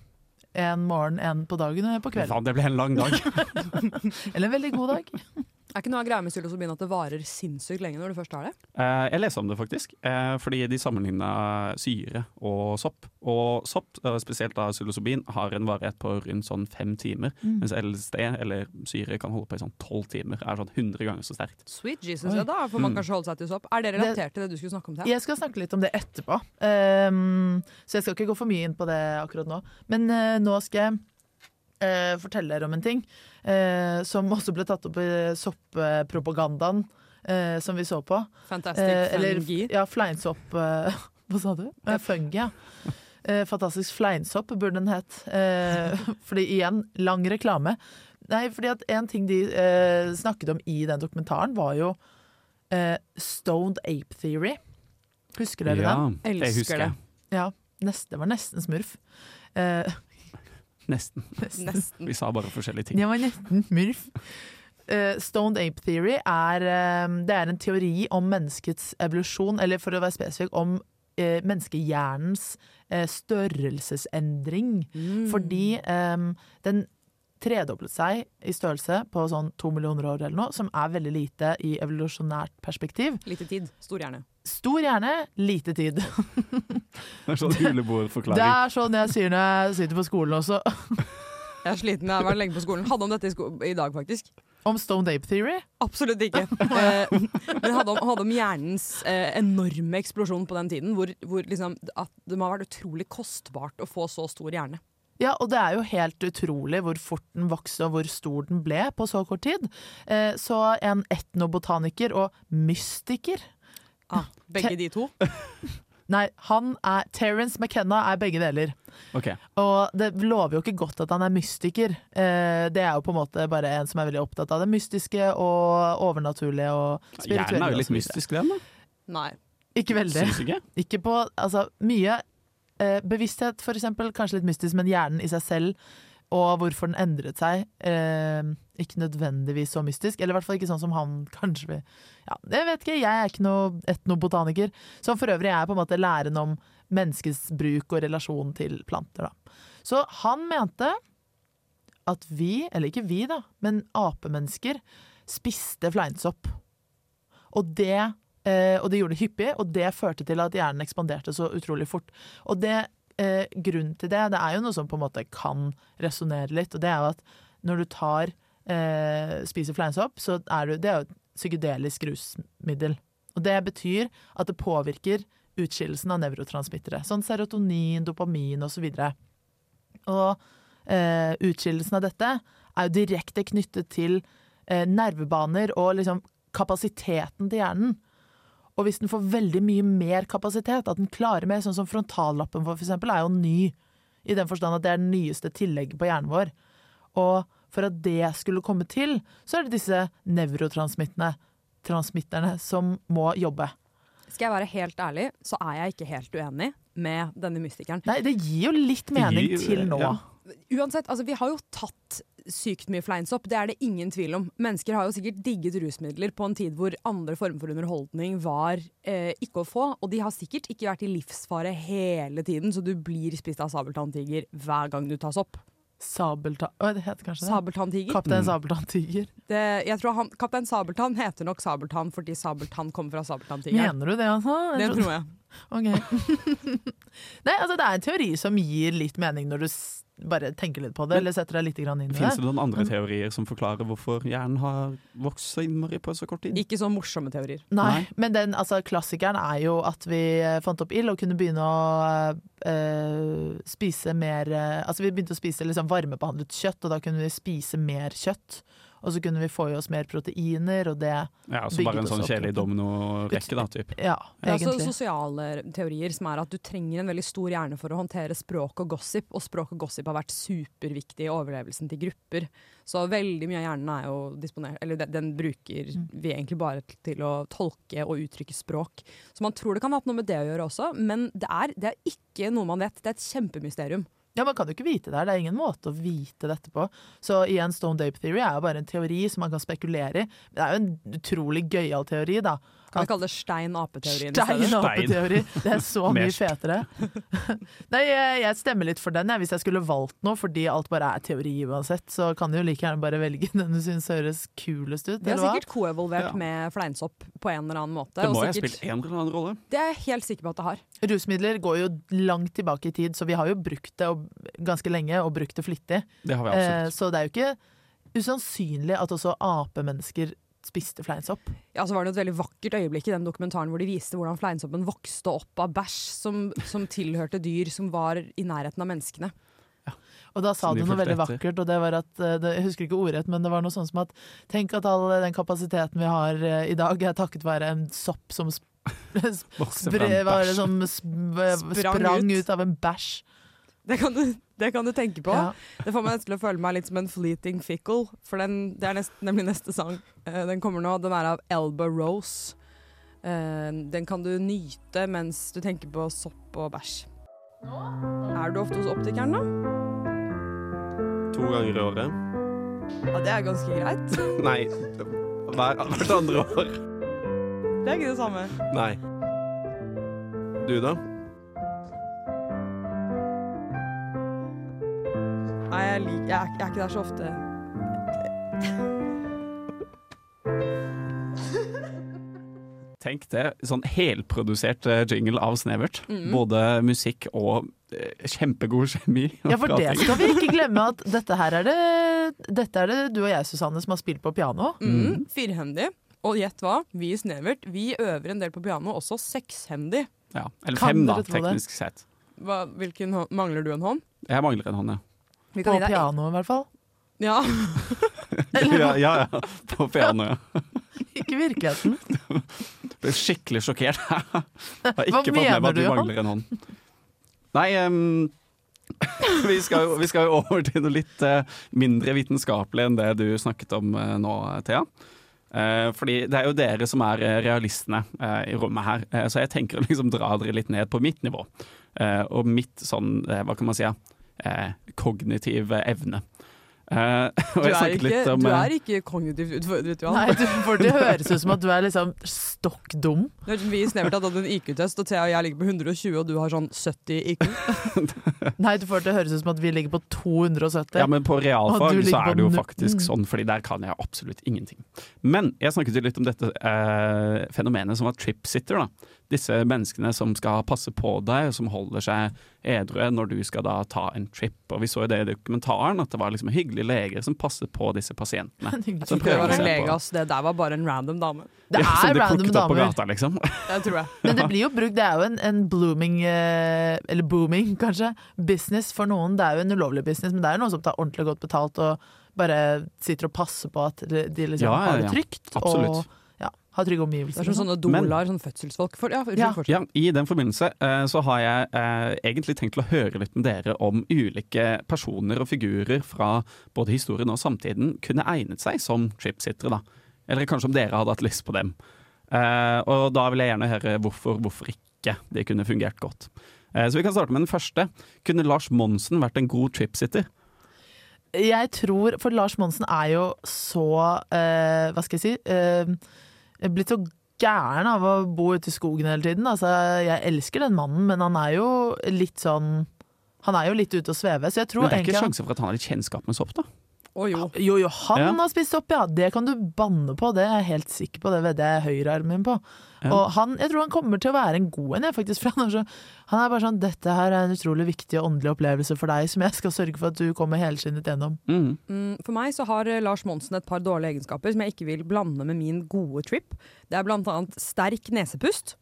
[SPEAKER 8] En morgen, en på dagen og en på kvelden.
[SPEAKER 9] Faen, det blir en lang dag.
[SPEAKER 8] Eller en veldig god dag.
[SPEAKER 7] Er ikke noe av greia med psilosobin at det varer sinnssykt lenge når du først har det?
[SPEAKER 9] Eh, jeg leste om det faktisk, eh, fordi de sammenligna syre og sopp. Og sopp, eh, spesielt da psilocybin, har en varighet på rundt sånn fem timer. Mens LSD, eller syre, kan holde på i sånn tolv timer. Er sånn 100 ganger så sterkt.
[SPEAKER 7] Sweet Jesus, ja da får man
[SPEAKER 8] Hmm.
[SPEAKER 7] kanskje holde seg til sopp. Er det relatert til det du skulle snakke om? Thea?
[SPEAKER 8] Jeg skal snakke litt om det etterpå, Ehm, så jeg skal ikke gå for mye inn på det akkurat nå. Men eh, nå skal jeg eh, forteller om en ting eh, som også ble tatt opp i sopppropagandaen eh, som vi så på.
[SPEAKER 7] Fantastic
[SPEAKER 8] Eh, eller
[SPEAKER 7] fungi.
[SPEAKER 8] ja, fleinsopp eh, Hva sa du? Eh, fungi, ja. Eh, fantastisk fleinsopp burde den het. Eh, fordi igjen, lang reklame. Nei, fordi at en ting de eh, snakket om i den dokumentaren, var jo eh, Stoned Ape Theory. Husker dere den?
[SPEAKER 9] jeg
[SPEAKER 7] Elsker
[SPEAKER 9] husker det.
[SPEAKER 7] det.
[SPEAKER 8] Ja. Nesten, det var nesten smurf. Eh,
[SPEAKER 9] Nesten.
[SPEAKER 8] nesten.
[SPEAKER 9] Vi sa bare forskjellige ting.
[SPEAKER 8] Jeg var nesten smurf. Eh, Stoned Ape Theory er, eh, det er en teori om menneskets evolusjon, eller for å være spesifikk, om eh, menneskehjernens eh, størrelsesendring. Fordi eh, den tredoblet seg i størrelse på sånn to millioner år eller noe, som er veldig lite i evolusjonært perspektiv.
[SPEAKER 7] Lite tid. Stor hjerne.
[SPEAKER 8] Stor hjerne, lite tid.
[SPEAKER 9] Det er sånn
[SPEAKER 8] Det
[SPEAKER 9] julebordforklaring.
[SPEAKER 8] er sånn jeg sier når jeg sitter på skolen også.
[SPEAKER 7] Jeg er sliten, jeg har vært lenge på skolen. Hadde om dette i, sko i dag, faktisk.
[SPEAKER 8] Om Stoned Ape Theory?
[SPEAKER 7] Absolutt ikke. Eh, Men hadde om, hadde om hjernens eh, enorme eksplosjon på den tiden, hvor, hvor liksom, at det må ha vært utrolig kostbart å få så stor hjerne.
[SPEAKER 8] Ja, og det er jo helt utrolig hvor fort den vokste og hvor stor den ble på så kort tid. Eh, Så en etnobotaniker og mystiker
[SPEAKER 7] Ah, begge de to.
[SPEAKER 8] Nei, han er Terence McKenna er begge deler.
[SPEAKER 9] Ok,
[SPEAKER 8] Og det lover jo ikke godt at han er mystiker. Eh, Det er jo på en måte bare en som er veldig opptatt av det mystiske og overnaturlige og spirituelle.
[SPEAKER 9] Hjernen er jo
[SPEAKER 8] og
[SPEAKER 9] litt
[SPEAKER 8] så videre.
[SPEAKER 9] mystisk, den. da.
[SPEAKER 7] Nei.
[SPEAKER 8] Ikke veldig.
[SPEAKER 9] Syns ikke?
[SPEAKER 8] Ikke på altså, mye eh, bevissthet, for eksempel, kanskje litt mystisk, men hjernen i seg selv, og hvorfor den endret seg, eh, ikke nødvendigvis så mystisk. Eller i hvert fall ikke sånn som han kanskje vil. Ja, jeg vet ikke, jeg er ikke noe etnobotaniker. Som for øvrig er på en måte læren om menneskets bruk og relasjon til planter. Da. Så han mente at vi, eller ikke vi da, men apemennesker, spiste fleinsopp. Og det Eh, og de gjorde det hyppig, og det førte til at hjernen ekspanderte så utrolig fort. Og det, eh, grunnen til det, det er jo noe som på en måte kan resonnere litt, og det er jo at når du tar, eh, spiser fleinsopp, så er du, det er jo et psykedelisk rusmiddel. Og det betyr at det påvirker utskillelsen av nevrotransmittere, sånn serotonin, dopamin osv. Og, så og eh, utskillelsen av dette er jo direkte knyttet til eh, nervebaner og liksom kapasiteten til hjernen. Og hvis den får veldig mye mer kapasitet, at den klarer mer, sånn som frontallappen for eksempel, er jo ny, i den forstand at det er det nyeste tillegget på hjernen vår. Og for at det skulle komme til, så er det disse nevrotransmitterne transmitterne som må jobbe.
[SPEAKER 7] Skal jeg være helt ærlig, så er jeg ikke helt uenig med denne mystikeren.
[SPEAKER 8] Nei, det gir jo litt mening
[SPEAKER 9] gir-
[SPEAKER 8] til nå.
[SPEAKER 9] ja.
[SPEAKER 7] Uansett, altså, vi har jo tatt sykt mye fleinsopp, det er det ingen tvil om. Mennesker har jo sikkert digget rusmidler på en tid hvor andre former for underholdning var eh, ikke å få, og de har sikkert ikke vært i livsfare hele tiden, så du blir spist av sabeltanntiger hver gang du tas opp.
[SPEAKER 8] Sabeltann... Å, det heter kanskje det?
[SPEAKER 7] Sabeltanntiger?
[SPEAKER 8] Kaptein Sabeltann-tiger.
[SPEAKER 7] Det, jeg tror han, Kaptein Sabeltann heter nok Sabeltann fordi Sabeltann kommer fra Sabeltanntigeren.
[SPEAKER 8] Mener du det, altså? Jeg
[SPEAKER 7] Det
[SPEAKER 8] trodde-
[SPEAKER 7] tror jeg.
[SPEAKER 8] Ok. Nei, altså det er en teori som gir litt mening når du s bare tenker litt på det, eller setter deg litt grann inn i
[SPEAKER 9] Fins
[SPEAKER 8] det.
[SPEAKER 9] det noen andre teorier som forklarer hvorfor hjernen har vokst så innmari på så kort tid?
[SPEAKER 7] Ikke så morsomme teorier.
[SPEAKER 8] Nei,
[SPEAKER 9] Nei.
[SPEAKER 8] men den, altså, klassikeren er jo at vi eh, fant opp ild og kunne begynne å eh, spise mer eh, Altså vi begynte å spise liksom, varmebehandlet kjøtt, og da kunne vi spise mer kjøtt. Og så kunne vi få i oss mer proteiner, og det
[SPEAKER 9] Ja, så bare en
[SPEAKER 8] Bygget
[SPEAKER 9] sånn
[SPEAKER 8] oss opp.
[SPEAKER 9] kjedelig dominorekke, da, typ.
[SPEAKER 8] Ja,
[SPEAKER 7] Det er også
[SPEAKER 8] egentlig.
[SPEAKER 7] sosiale teorier, som er at du trenger en veldig stor hjerne for å håndtere språk og gossip, og språk og gossip har vært superviktig i overlevelsen til grupper. Så veldig mye av hjernen er jo disponert Eller den, den bruker vi egentlig bare til- til å tolke og uttrykke språk. Så man tror det kan ha hatt noe med det å gjøre også, men det er, det er ikke noe man vet. Det er et kjempemysterium.
[SPEAKER 8] Ja, Man kan jo ikke vite det her, det er ingen måte å vite dette på. Så igjen, Stone Dape Theory er jo bare en teori som man kan spekulere i. Det er jo en utrolig gøyal teori, da.
[SPEAKER 7] Kan vi kalle det stein-ape-teorien i
[SPEAKER 8] Stein
[SPEAKER 7] stedet?
[SPEAKER 8] apeteori. Det er så
[SPEAKER 9] Mer
[SPEAKER 8] mye fetere. Nei, jeg, jeg stemmer litt for den jeg, hvis jeg skulle valgt noe, fordi alt bare er teori uansett. Så kan du jo like gjerne bare velge den du syns høres kulest ut.
[SPEAKER 7] Vi har
[SPEAKER 8] Eller hva?
[SPEAKER 7] sikkert koevolvert
[SPEAKER 9] Ja.
[SPEAKER 7] med fleinsopp på en eller annen måte.
[SPEAKER 9] Det
[SPEAKER 7] og
[SPEAKER 9] må jo ha
[SPEAKER 7] sikkert-
[SPEAKER 9] spilt en eller annen rolle.
[SPEAKER 7] det er jeg helt sikker på at det har.
[SPEAKER 8] Rusmidler går jo langt tilbake i tid, så vi har jo brukt det og, ganske lenge, og brukt det flittig.
[SPEAKER 9] Det har vi
[SPEAKER 8] Eh,
[SPEAKER 9] absolutt.
[SPEAKER 8] så det er jo ikke usannsynlig at også apemennesker spiste fleinsopp.
[SPEAKER 7] Ja, så var det et veldig vakkert øyeblikk i den dokumentaren hvor de viste hvordan fleinsoppen vokste opp av bæsj som, som tilhørte dyr som var i nærheten av menneskene.
[SPEAKER 8] Og da sa
[SPEAKER 9] Som
[SPEAKER 8] du
[SPEAKER 9] de
[SPEAKER 8] noe
[SPEAKER 9] fulgte
[SPEAKER 8] veldig
[SPEAKER 9] etter.
[SPEAKER 8] vakkert, og det var at eh, det, Jeg husker ikke ordrett, men det var noe sånn som at Tenk at all den kapasiteten vi har eh, i dag, er takket være en sopp som sp
[SPEAKER 9] Vokse
[SPEAKER 8] spre,
[SPEAKER 9] fram
[SPEAKER 8] var det
[SPEAKER 9] bæsj.
[SPEAKER 8] som sp eh,
[SPEAKER 7] Sprang
[SPEAKER 8] sprang, ut.
[SPEAKER 7] ut.
[SPEAKER 8] av en bæsj.
[SPEAKER 7] Det kan, du, det kan du tenke på.
[SPEAKER 8] Ja.
[SPEAKER 7] Det får meg nesten til å føle meg litt som en fleeting fickle, for den, det er nest, nemlig neste sang. Eh, den kommer nå. Den er av Elba Rose. Eh, den kan du nyte mens du tenker på sopp og bæsj. Er du ofte hos optikeren, da?
[SPEAKER 10] To ganger i året.
[SPEAKER 7] Ja, det er ganske greit.
[SPEAKER 10] Nei. Hver, hvert andre år.
[SPEAKER 7] Det er ikke det samme.
[SPEAKER 10] Nei. Du, da?
[SPEAKER 7] Nei, jeg, lik, jeg, er- jeg er ikke der så ofte.
[SPEAKER 9] Tenk det. Sånn helprodusert eh, jingle av Snevert.
[SPEAKER 8] Mm.
[SPEAKER 9] Både musikk og eh, kjempegod kjemi. og
[SPEAKER 8] Ja, for det
[SPEAKER 9] prating.
[SPEAKER 8] skal vi ikke glemme at dette her er det, dette er det du og jeg, Susanne, som har spilt på piano.
[SPEAKER 7] Mm. Firhendig. Og gjett hva? Vi i Snevert vi øver en del på piano, også sekshendig.
[SPEAKER 9] Ja. Eller
[SPEAKER 8] Kan
[SPEAKER 9] fem, da,
[SPEAKER 8] dere tro det?
[SPEAKER 9] teknisk sett.
[SPEAKER 7] Hva, hvilken hånd, Mangler du en hånd?
[SPEAKER 9] Jeg mangler en hånd, ja.
[SPEAKER 7] Vi
[SPEAKER 8] På
[SPEAKER 7] gi deg-
[SPEAKER 8] pianoet, i hvert fall.
[SPEAKER 7] Ja,
[SPEAKER 9] ja, ja, ja. På pianoet. Ja.
[SPEAKER 8] Ikke i virkeligheten.
[SPEAKER 9] Ble skikkelig sjokkert. Jeg har
[SPEAKER 8] Hva
[SPEAKER 9] ikke fått med meg
[SPEAKER 8] mener
[SPEAKER 9] at
[SPEAKER 8] du,
[SPEAKER 9] du
[SPEAKER 8] Johan?
[SPEAKER 9] mangler en hånd. Nei, em, vi, skal jo, vi skal jo over til noe litt eh, mindre vitenskapelig enn det du snakket om eh, nå, Thea. Eh, fordi det er jo dere som er eh, realistene eh, i rommet her, Eh, så jeg tenker å liksom dra dere litt ned på mitt nivå. Eh, og mitt sånn, eh, hva kan man si, ja, eh, kognitive evne. Eh,
[SPEAKER 7] du,
[SPEAKER 9] og jeg
[SPEAKER 7] er
[SPEAKER 9] snakket
[SPEAKER 7] ikke,
[SPEAKER 9] litt om,
[SPEAKER 7] du
[SPEAKER 9] eh,
[SPEAKER 7] er ikke kognitivt utfordret, Johan.
[SPEAKER 8] Nei, du, for det høres ut som at du er liksom stokk dum.
[SPEAKER 7] Det er som Vi i Snevert hadde hatt en IQ-test, og Thea og jeg ligger på 120, og du har sånn 70 IQ.
[SPEAKER 8] Nei, du får det til å høres ut som at vi ligger på 270.
[SPEAKER 9] Ja, men på
[SPEAKER 8] Å, du
[SPEAKER 9] realfag
[SPEAKER 8] ligger
[SPEAKER 9] så
[SPEAKER 8] på Mm.
[SPEAKER 9] er det jo
[SPEAKER 8] nutten.
[SPEAKER 9] faktisk sånn, fordi der kan jeg absolutt ingenting. Men jeg snakket jo litt om dette eh, fenomenet som var tripsitter, da. Disse menneskene som skal passe på deg, og som holder seg edru når du skal da ta en trip. Og vi så jo det i dokumentaren, at det var liksom hyggelige leger som passet på disse pasientene. Som
[SPEAKER 7] Det
[SPEAKER 9] prøver
[SPEAKER 7] var
[SPEAKER 9] å
[SPEAKER 7] en
[SPEAKER 9] se
[SPEAKER 7] lege,
[SPEAKER 9] på.
[SPEAKER 7] ass. Det der var bare en random dame.
[SPEAKER 8] Det
[SPEAKER 9] Ja, som
[SPEAKER 8] er
[SPEAKER 9] de
[SPEAKER 8] random
[SPEAKER 9] plukket opp på
[SPEAKER 8] damer.
[SPEAKER 9] gata, liksom.
[SPEAKER 7] Det tror jeg.
[SPEAKER 8] Men det blir jo brukt, det er jo en, en blooming, eh, eller booming kanskje, business for noen. Det er jo en ulovlig business, men det er jo noen som tar ordentlig godt betalt og bare sitter og passer på at de de liksom
[SPEAKER 9] Ja, ja,
[SPEAKER 8] har det
[SPEAKER 9] ja.
[SPEAKER 8] trygt.
[SPEAKER 9] Absolutt.
[SPEAKER 8] Og ja, har trygge
[SPEAKER 7] Det
[SPEAKER 8] omgivelser.
[SPEAKER 7] er som sånne dolaer, sånn fødselsfolk. For, ja,
[SPEAKER 8] Ja.
[SPEAKER 7] unnskyld, fortsett.
[SPEAKER 9] Ja, I den forbindelse eh, så har jeg eh, egentlig tenkt til å høre litt med dere om ulike personer og figurer fra både historien og samtiden kunne egnet seg som tripsittere, da. Eller kanskje om dere hadde hatt lyst på dem. Eh, og da vil jeg gjerne høre hvorfor, hvorfor ikke de kunne fungert godt. Eh, så vi kan starte med den første. Kunne Lars Monsen vært en god tripsitter?
[SPEAKER 8] Jeg tror, for Lars Monsen er jo så eh, Hva skal jeg si eh, Blitt så gæren av å bo ute i skogen hele tiden. Altså, jeg elsker den mannen, men han er jo litt sånn Han er jo litt ute og sveve, så jeg tror
[SPEAKER 9] Men det er ikke
[SPEAKER 8] egentlig han-
[SPEAKER 9] sjanse for at han har litt kjennskap med sopp, da?
[SPEAKER 7] Å jo.
[SPEAKER 8] Jo, jo, han
[SPEAKER 9] Ja.
[SPEAKER 8] har spist opp, ja. Det kan du banne på. Det er jeg helt sikker på. Det vedder jeg høyrearmen min på.
[SPEAKER 9] Ja.
[SPEAKER 8] Og han, jeg tror han kommer til å være en god en, jeg, faktisk. For han er, så, han er bare sånn Dette her er en utrolig viktig og åndelig opplevelse for deg, som jeg skal sørge for at du kommer helskinnet gjennom.
[SPEAKER 9] Mhm.
[SPEAKER 7] Mm, For meg så har eh, Lars Monsen et par dårlige egenskaper som jeg ikke vil blande med min gode trip. Det er blant annet sterk nesepust.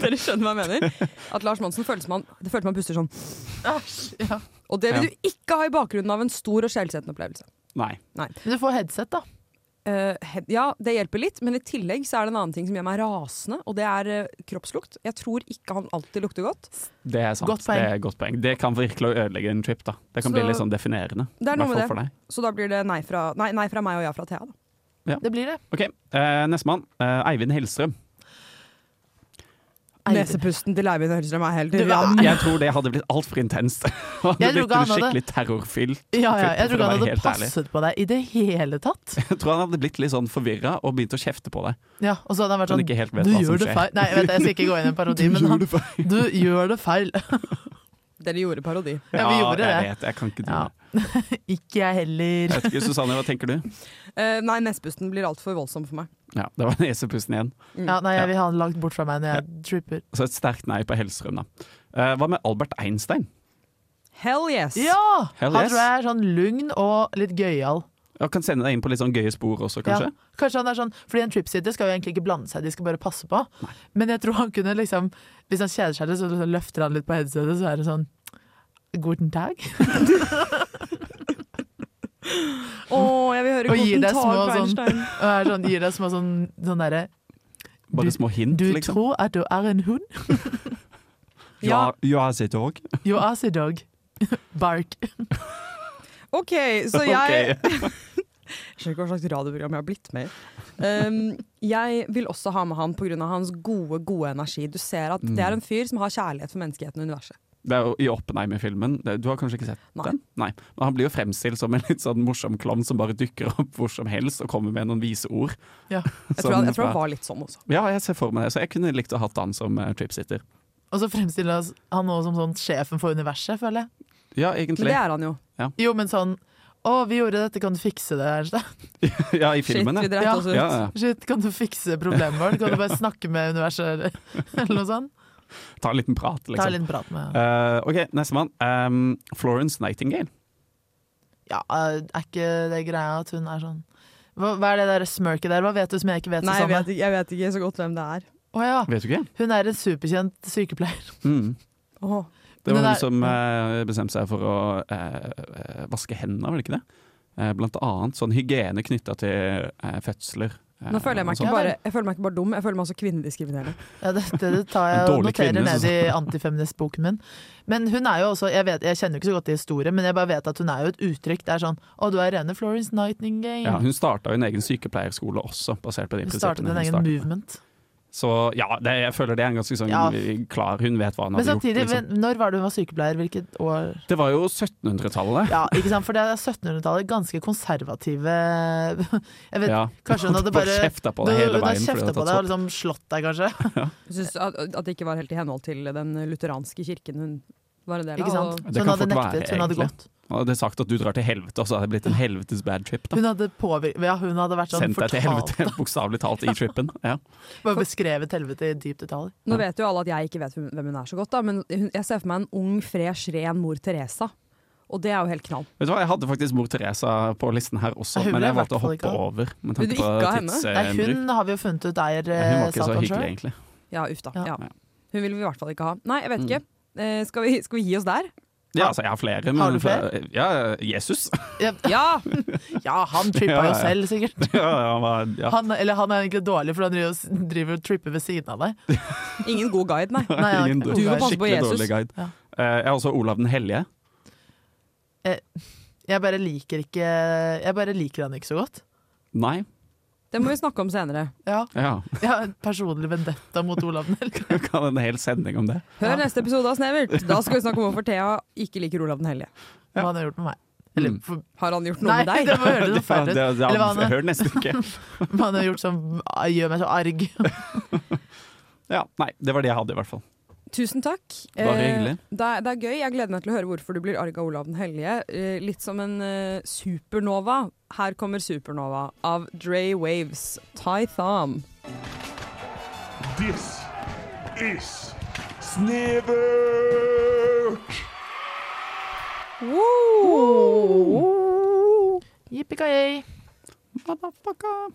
[SPEAKER 7] Dere skjønner hva jeg mener? At Lars Monsen føles som han, det føles som han puster sånn.
[SPEAKER 8] Ja.
[SPEAKER 7] Og det vil du ikke ha i bakgrunnen av en stor og skjellsettende opplevelse.
[SPEAKER 9] Nei.
[SPEAKER 8] Men du får headset, da.
[SPEAKER 7] Eh, he- ja, det hjelper litt, men i tillegg så er det en annen ting som gjør meg rasende, og det er eh, kroppslukt. Jeg tror ikke han alltid lukter godt.
[SPEAKER 9] Det er sant.
[SPEAKER 8] Godt poeng.
[SPEAKER 9] Det, er et godt poeng. det kan virkelig ødelegge en trip, da. Det kan
[SPEAKER 7] Så-
[SPEAKER 9] bli litt sånn definerende.
[SPEAKER 7] Det er
[SPEAKER 9] i
[SPEAKER 7] noe med
[SPEAKER 9] hvert fall
[SPEAKER 7] det.
[SPEAKER 9] for deg.
[SPEAKER 7] Så da blir det nei fra, nei, nei fra meg og ja fra Thea. Da.
[SPEAKER 8] Det blir det.
[SPEAKER 9] Ok, eh, Nestemann. Eh, Eivind Hellstrøm.
[SPEAKER 8] Eivind.
[SPEAKER 7] Nesepusten til Eivind Hellstrøm er helt
[SPEAKER 8] Du, hva?
[SPEAKER 7] ran.
[SPEAKER 9] Jeg tror det hadde blitt altfor intenst. Han hadde
[SPEAKER 8] Ah. Jeg tror
[SPEAKER 9] blitt
[SPEAKER 8] ikke han
[SPEAKER 9] en
[SPEAKER 8] hadde-
[SPEAKER 9] skikkelig terrorfylt.
[SPEAKER 8] Ja, ja, jeg
[SPEAKER 9] For
[SPEAKER 8] tror ikke
[SPEAKER 9] å
[SPEAKER 8] han
[SPEAKER 9] være
[SPEAKER 8] hadde
[SPEAKER 9] helt ærlig.
[SPEAKER 8] passet på deg i det hele tatt.
[SPEAKER 9] Jeg tror han hadde blitt litt sånn forvirra og begynt å kjefte på deg.
[SPEAKER 8] Ja, og så hadde han vært
[SPEAKER 9] Han
[SPEAKER 8] sånn
[SPEAKER 9] ikke helt vet
[SPEAKER 8] Du
[SPEAKER 9] hva som
[SPEAKER 8] gjør det
[SPEAKER 9] skjer.
[SPEAKER 8] feil. Nei, jeg vet, det, jeg skal ikke gå inn i en parodi, men han, du gjør det feil.
[SPEAKER 7] Dere gjorde parodi.
[SPEAKER 8] Ja, vi gjorde
[SPEAKER 9] jeg
[SPEAKER 8] det.
[SPEAKER 9] vet, jeg kan ikke
[SPEAKER 8] Ja.
[SPEAKER 9] drive det.
[SPEAKER 8] Ikke jeg heller.
[SPEAKER 9] Jeg vet ikke, Susanne, hva tenker du?
[SPEAKER 7] Eh, nei, nesepusten blir altfor voldsom for meg.
[SPEAKER 9] Ja, Det var nesepusten igjen.
[SPEAKER 8] Ja, nei, jeg vil ha han langt bort fra meg når jeg tripper.
[SPEAKER 9] Så Altså, et sterkt nei på Hellstrøm, da. Eh, hva med Albert Einstein?
[SPEAKER 7] Hell yes!
[SPEAKER 8] Ja!
[SPEAKER 9] Hell
[SPEAKER 8] han
[SPEAKER 9] yes.
[SPEAKER 8] tror jeg er sånn lugn og litt gøyal.
[SPEAKER 9] Jeg kan sende deg inn på litt sånn gøye spor også, kanskje?
[SPEAKER 8] Ja. Kanskje han er sånn, fordi en tripsitter skal jo egentlig ikke blande seg, de skal bare passe på. Men jeg tror han kunne liksom, hvis han kjeder seg litt, så liksom løfter han litt på headsetet, så er det sånn Guten Tag.
[SPEAKER 7] Å, jeg vil høre
[SPEAKER 8] Og gir
[SPEAKER 7] Guten
[SPEAKER 8] deg
[SPEAKER 7] Tag
[SPEAKER 8] små
[SPEAKER 7] på
[SPEAKER 8] sånn-
[SPEAKER 7] Einstein.
[SPEAKER 8] Og er sånn, gir deg små sånn, sånn derre
[SPEAKER 9] Bare
[SPEAKER 8] Du-
[SPEAKER 9] små hint,
[SPEAKER 8] Du
[SPEAKER 9] liksom.
[SPEAKER 8] tror at du er en hund?
[SPEAKER 7] Ja.
[SPEAKER 9] ja, jeg sitter òg.
[SPEAKER 8] You are a dog. Bark.
[SPEAKER 7] OK, så jeg skjønner ikke hva slags radioprogram jeg har blitt med i. Um, jeg vil også ha med han pga. hans gode, gode energi. Du ser at det er en fyr som har kjærlighet for menneskeheten og universet.
[SPEAKER 9] Det er jo i Oppenheimer-filmen. Det- Du har kanskje ikke sett
[SPEAKER 7] Nei.
[SPEAKER 9] den? Nei. Men han blir jo fremstilt som en litt sånn morsom klovn som bare dukker opp hvor som helst og kommer med noen vise ord.
[SPEAKER 8] Ja.
[SPEAKER 7] Jeg tror, han, jeg tror han var litt sånn også.
[SPEAKER 9] Ja, jeg ser for meg det. Så jeg kunne likt å hatt han som eh, tripsitter.
[SPEAKER 8] Og så fremstiller oss- han nå som sånn sjefen for universet, føler jeg.
[SPEAKER 9] Ja,
[SPEAKER 7] Men det
[SPEAKER 9] egentlig.
[SPEAKER 7] er han jo.
[SPEAKER 8] Jo, men sånn Å, vi gjorde dette, kan du fikse det, Ernstad?
[SPEAKER 9] Ja, i
[SPEAKER 7] Shit,
[SPEAKER 9] filmen,
[SPEAKER 7] vi
[SPEAKER 9] ja.
[SPEAKER 7] dreit
[SPEAKER 8] Ja.
[SPEAKER 7] oss ut.
[SPEAKER 9] ja. ja.
[SPEAKER 8] Shit, kan du fikse problemet vårt? Kan du bare snakke med universet, eller, eller noe sånt?
[SPEAKER 9] Ta en liten prat,
[SPEAKER 8] Ta
[SPEAKER 9] liksom.
[SPEAKER 8] litt prat med
[SPEAKER 9] Eh, OK, nestemann. Um, Florence Nightingale.
[SPEAKER 8] Ja, er ikke det greia at hun er sånn hva, hva er det der smirket der? Hva vet du som jeg ikke vet?
[SPEAKER 7] Nei, jeg
[SPEAKER 8] Susanne?
[SPEAKER 7] vet, ikke, jeg vet ikke så godt hvem det er.
[SPEAKER 8] Å ja,
[SPEAKER 9] Vet du ikke?
[SPEAKER 8] hun er en superkjent sykepleier.
[SPEAKER 9] Mm.
[SPEAKER 7] Åh.
[SPEAKER 9] Det
[SPEAKER 8] Men
[SPEAKER 9] var
[SPEAKER 8] det
[SPEAKER 9] hun
[SPEAKER 8] der-
[SPEAKER 9] som eh, bestemte seg for å eh, eh, vaske hendene, var det ikke det? Eh, blant annet sånn hygiene knytta til eh, fødsler. eh,
[SPEAKER 7] Nå føler jeg meg,
[SPEAKER 9] og
[SPEAKER 7] ikke
[SPEAKER 8] Ja,
[SPEAKER 7] bare, jeg føler meg ikke bare dum, jeg føler meg også kvinnediskriminerende.
[SPEAKER 8] Ja, dette det tar jeg
[SPEAKER 9] En
[SPEAKER 8] og
[SPEAKER 9] dårlig
[SPEAKER 8] noterer
[SPEAKER 9] kvinne,
[SPEAKER 8] ned i antifeministboken min. Men hun er jo også Jeg, vet, jeg kjenner jo ikke så godt til historien, men jeg bare vet at hun er jo et uttrykk. Det er sånn Å, du er rene Florence Nightingale.
[SPEAKER 9] Ja, hun starta jo en egen sykepleierskole også, basert på de
[SPEAKER 8] hun startet
[SPEAKER 9] prinsippene
[SPEAKER 8] en
[SPEAKER 9] hun
[SPEAKER 8] egen
[SPEAKER 9] startet.
[SPEAKER 8] movement.
[SPEAKER 9] Så ja, det, jeg føler det er en ganske sånn
[SPEAKER 8] Ja.
[SPEAKER 9] klar Hun vet hva hun
[SPEAKER 8] Men
[SPEAKER 9] hadde
[SPEAKER 8] samtidig,
[SPEAKER 9] gjort. Liksom.
[SPEAKER 8] men når var det hun var sykepleier? Hvilket år?
[SPEAKER 9] Det var jo 1700-tallet.
[SPEAKER 8] Ja, ikke sant? For det er 1700-tallet. Ganske konservative Jeg vet
[SPEAKER 9] Ja.
[SPEAKER 8] Kanskje hun hadde bare
[SPEAKER 9] kjefta på deg hele
[SPEAKER 8] hun har
[SPEAKER 9] veien. fordi
[SPEAKER 8] kjefta
[SPEAKER 9] du
[SPEAKER 8] på deg
[SPEAKER 9] hadde
[SPEAKER 8] og
[SPEAKER 9] tatt
[SPEAKER 8] liksom slått deg, kanskje.
[SPEAKER 7] Jeg synes at, at det ikke var helt i henhold til den lutheranske kirken hun var en del av.
[SPEAKER 8] Ikke sant?
[SPEAKER 7] og-
[SPEAKER 9] Det
[SPEAKER 8] Så hun
[SPEAKER 9] kan
[SPEAKER 8] hadde
[SPEAKER 9] fort være,
[SPEAKER 8] nektet. Hun hadde
[SPEAKER 9] egentlig.
[SPEAKER 8] gått.
[SPEAKER 9] sopp. Hadde jeg sagt at du drar til helvete, og så hadde det blitt en helvetes bad trip. da
[SPEAKER 8] Hun hadde, påvir- ja, hun hadde vært sånn
[SPEAKER 9] Sendt deg til
[SPEAKER 8] fortalt
[SPEAKER 9] helvete, bokstavelig talt, i trippen. Ja.
[SPEAKER 8] Bare beskrevet helvete i dyp detalj.
[SPEAKER 7] Nå vet jo alle at jeg ikke vet hvem hvem hun er så godt, da, men hun, jeg ser for meg en ung, fresh, ren mor Teresa. Og det er jo helt knall.
[SPEAKER 9] Vet du hva, Jeg hadde faktisk mor Teresa på listen her også,
[SPEAKER 8] Hun
[SPEAKER 9] men
[SPEAKER 8] ble
[SPEAKER 9] jeg
[SPEAKER 8] i
[SPEAKER 9] valgte
[SPEAKER 8] hvert
[SPEAKER 9] å
[SPEAKER 8] fall
[SPEAKER 9] hoppe
[SPEAKER 8] ikke av.
[SPEAKER 9] over. Med
[SPEAKER 7] Vil du
[SPEAKER 9] tanke på
[SPEAKER 7] ikke ha henne?
[SPEAKER 9] tidsbruk.
[SPEAKER 8] Nei, hun har vi jo funnet ut eh, eier
[SPEAKER 9] Nei, Eh, hun var ikke så
[SPEAKER 8] Satan
[SPEAKER 9] hyggelig,
[SPEAKER 8] sjøl.
[SPEAKER 9] egentlig.
[SPEAKER 7] Ja, uff da.
[SPEAKER 8] Ja. Mm.
[SPEAKER 7] Ja. Hun vil vi i hvert fall ikke ha. Nei, jeg vet ikke. Eh, skal, vi, skal vi gi oss der?
[SPEAKER 9] Ja, altså, jeg har flere, men
[SPEAKER 8] Har du flere?
[SPEAKER 9] Ja, Jesus.
[SPEAKER 7] Ja!
[SPEAKER 8] Ja, han trippa
[SPEAKER 9] Ja,
[SPEAKER 8] jo
[SPEAKER 9] ja, ja.
[SPEAKER 8] selv, sikkert.
[SPEAKER 9] Ja, han var, ja.
[SPEAKER 8] Han, eller han er egentlig dårlig, for han driver, og s- driver og tripper ved siden av deg.
[SPEAKER 7] Ingen god guide, nei.
[SPEAKER 8] Nei, han,
[SPEAKER 9] Ingen
[SPEAKER 7] Du må
[SPEAKER 9] dårlig,
[SPEAKER 8] Olav,
[SPEAKER 7] passe på
[SPEAKER 9] skikkelig
[SPEAKER 7] Jesus.
[SPEAKER 9] dårlig guide.
[SPEAKER 8] Ja.
[SPEAKER 9] Eh, jeg har også Olav den hellige.
[SPEAKER 8] Jeg bare liker ikke Jeg bare liker han ikke så godt.
[SPEAKER 9] Nei.
[SPEAKER 7] Det må vi snakke om senere.
[SPEAKER 8] Ja,
[SPEAKER 9] Ja,
[SPEAKER 8] Jeg har en personlig vendetta mot Olav Nell.
[SPEAKER 9] vi kan ha en hel sending om det.
[SPEAKER 7] Hør
[SPEAKER 8] Ja.
[SPEAKER 7] neste episode av Snevert. Da skal vi snakke om hvorfor Thea ikke liker Olav den hellige.
[SPEAKER 8] Hva han har gjort med meg. Eller for,
[SPEAKER 7] Har han gjort noe
[SPEAKER 8] Nei,
[SPEAKER 7] med deg?
[SPEAKER 8] det må høre noe
[SPEAKER 9] Det,
[SPEAKER 8] feil
[SPEAKER 9] Mm. det,
[SPEAKER 8] ut.
[SPEAKER 9] det,
[SPEAKER 8] Eller hva han,
[SPEAKER 9] hør nesten ikke.
[SPEAKER 8] hva han har gjort som ah, gjør meg så arg.
[SPEAKER 9] Ja, nei, det var det jeg hadde, i hvert fall.
[SPEAKER 7] Tusen takk.
[SPEAKER 9] Bare
[SPEAKER 7] Eh,
[SPEAKER 9] hyggelig.
[SPEAKER 7] Det er, det er gøy. Jeg gleder meg til å høre hvorfor du blir arg av Olav den hellige. Eh, Litt som en eh, supernova. Her kommer Supernova av Dre Waves, Ty Thom.
[SPEAKER 3] This is Snevert!
[SPEAKER 8] Yippee-ki-yay.
[SPEAKER 9] Motherfucker.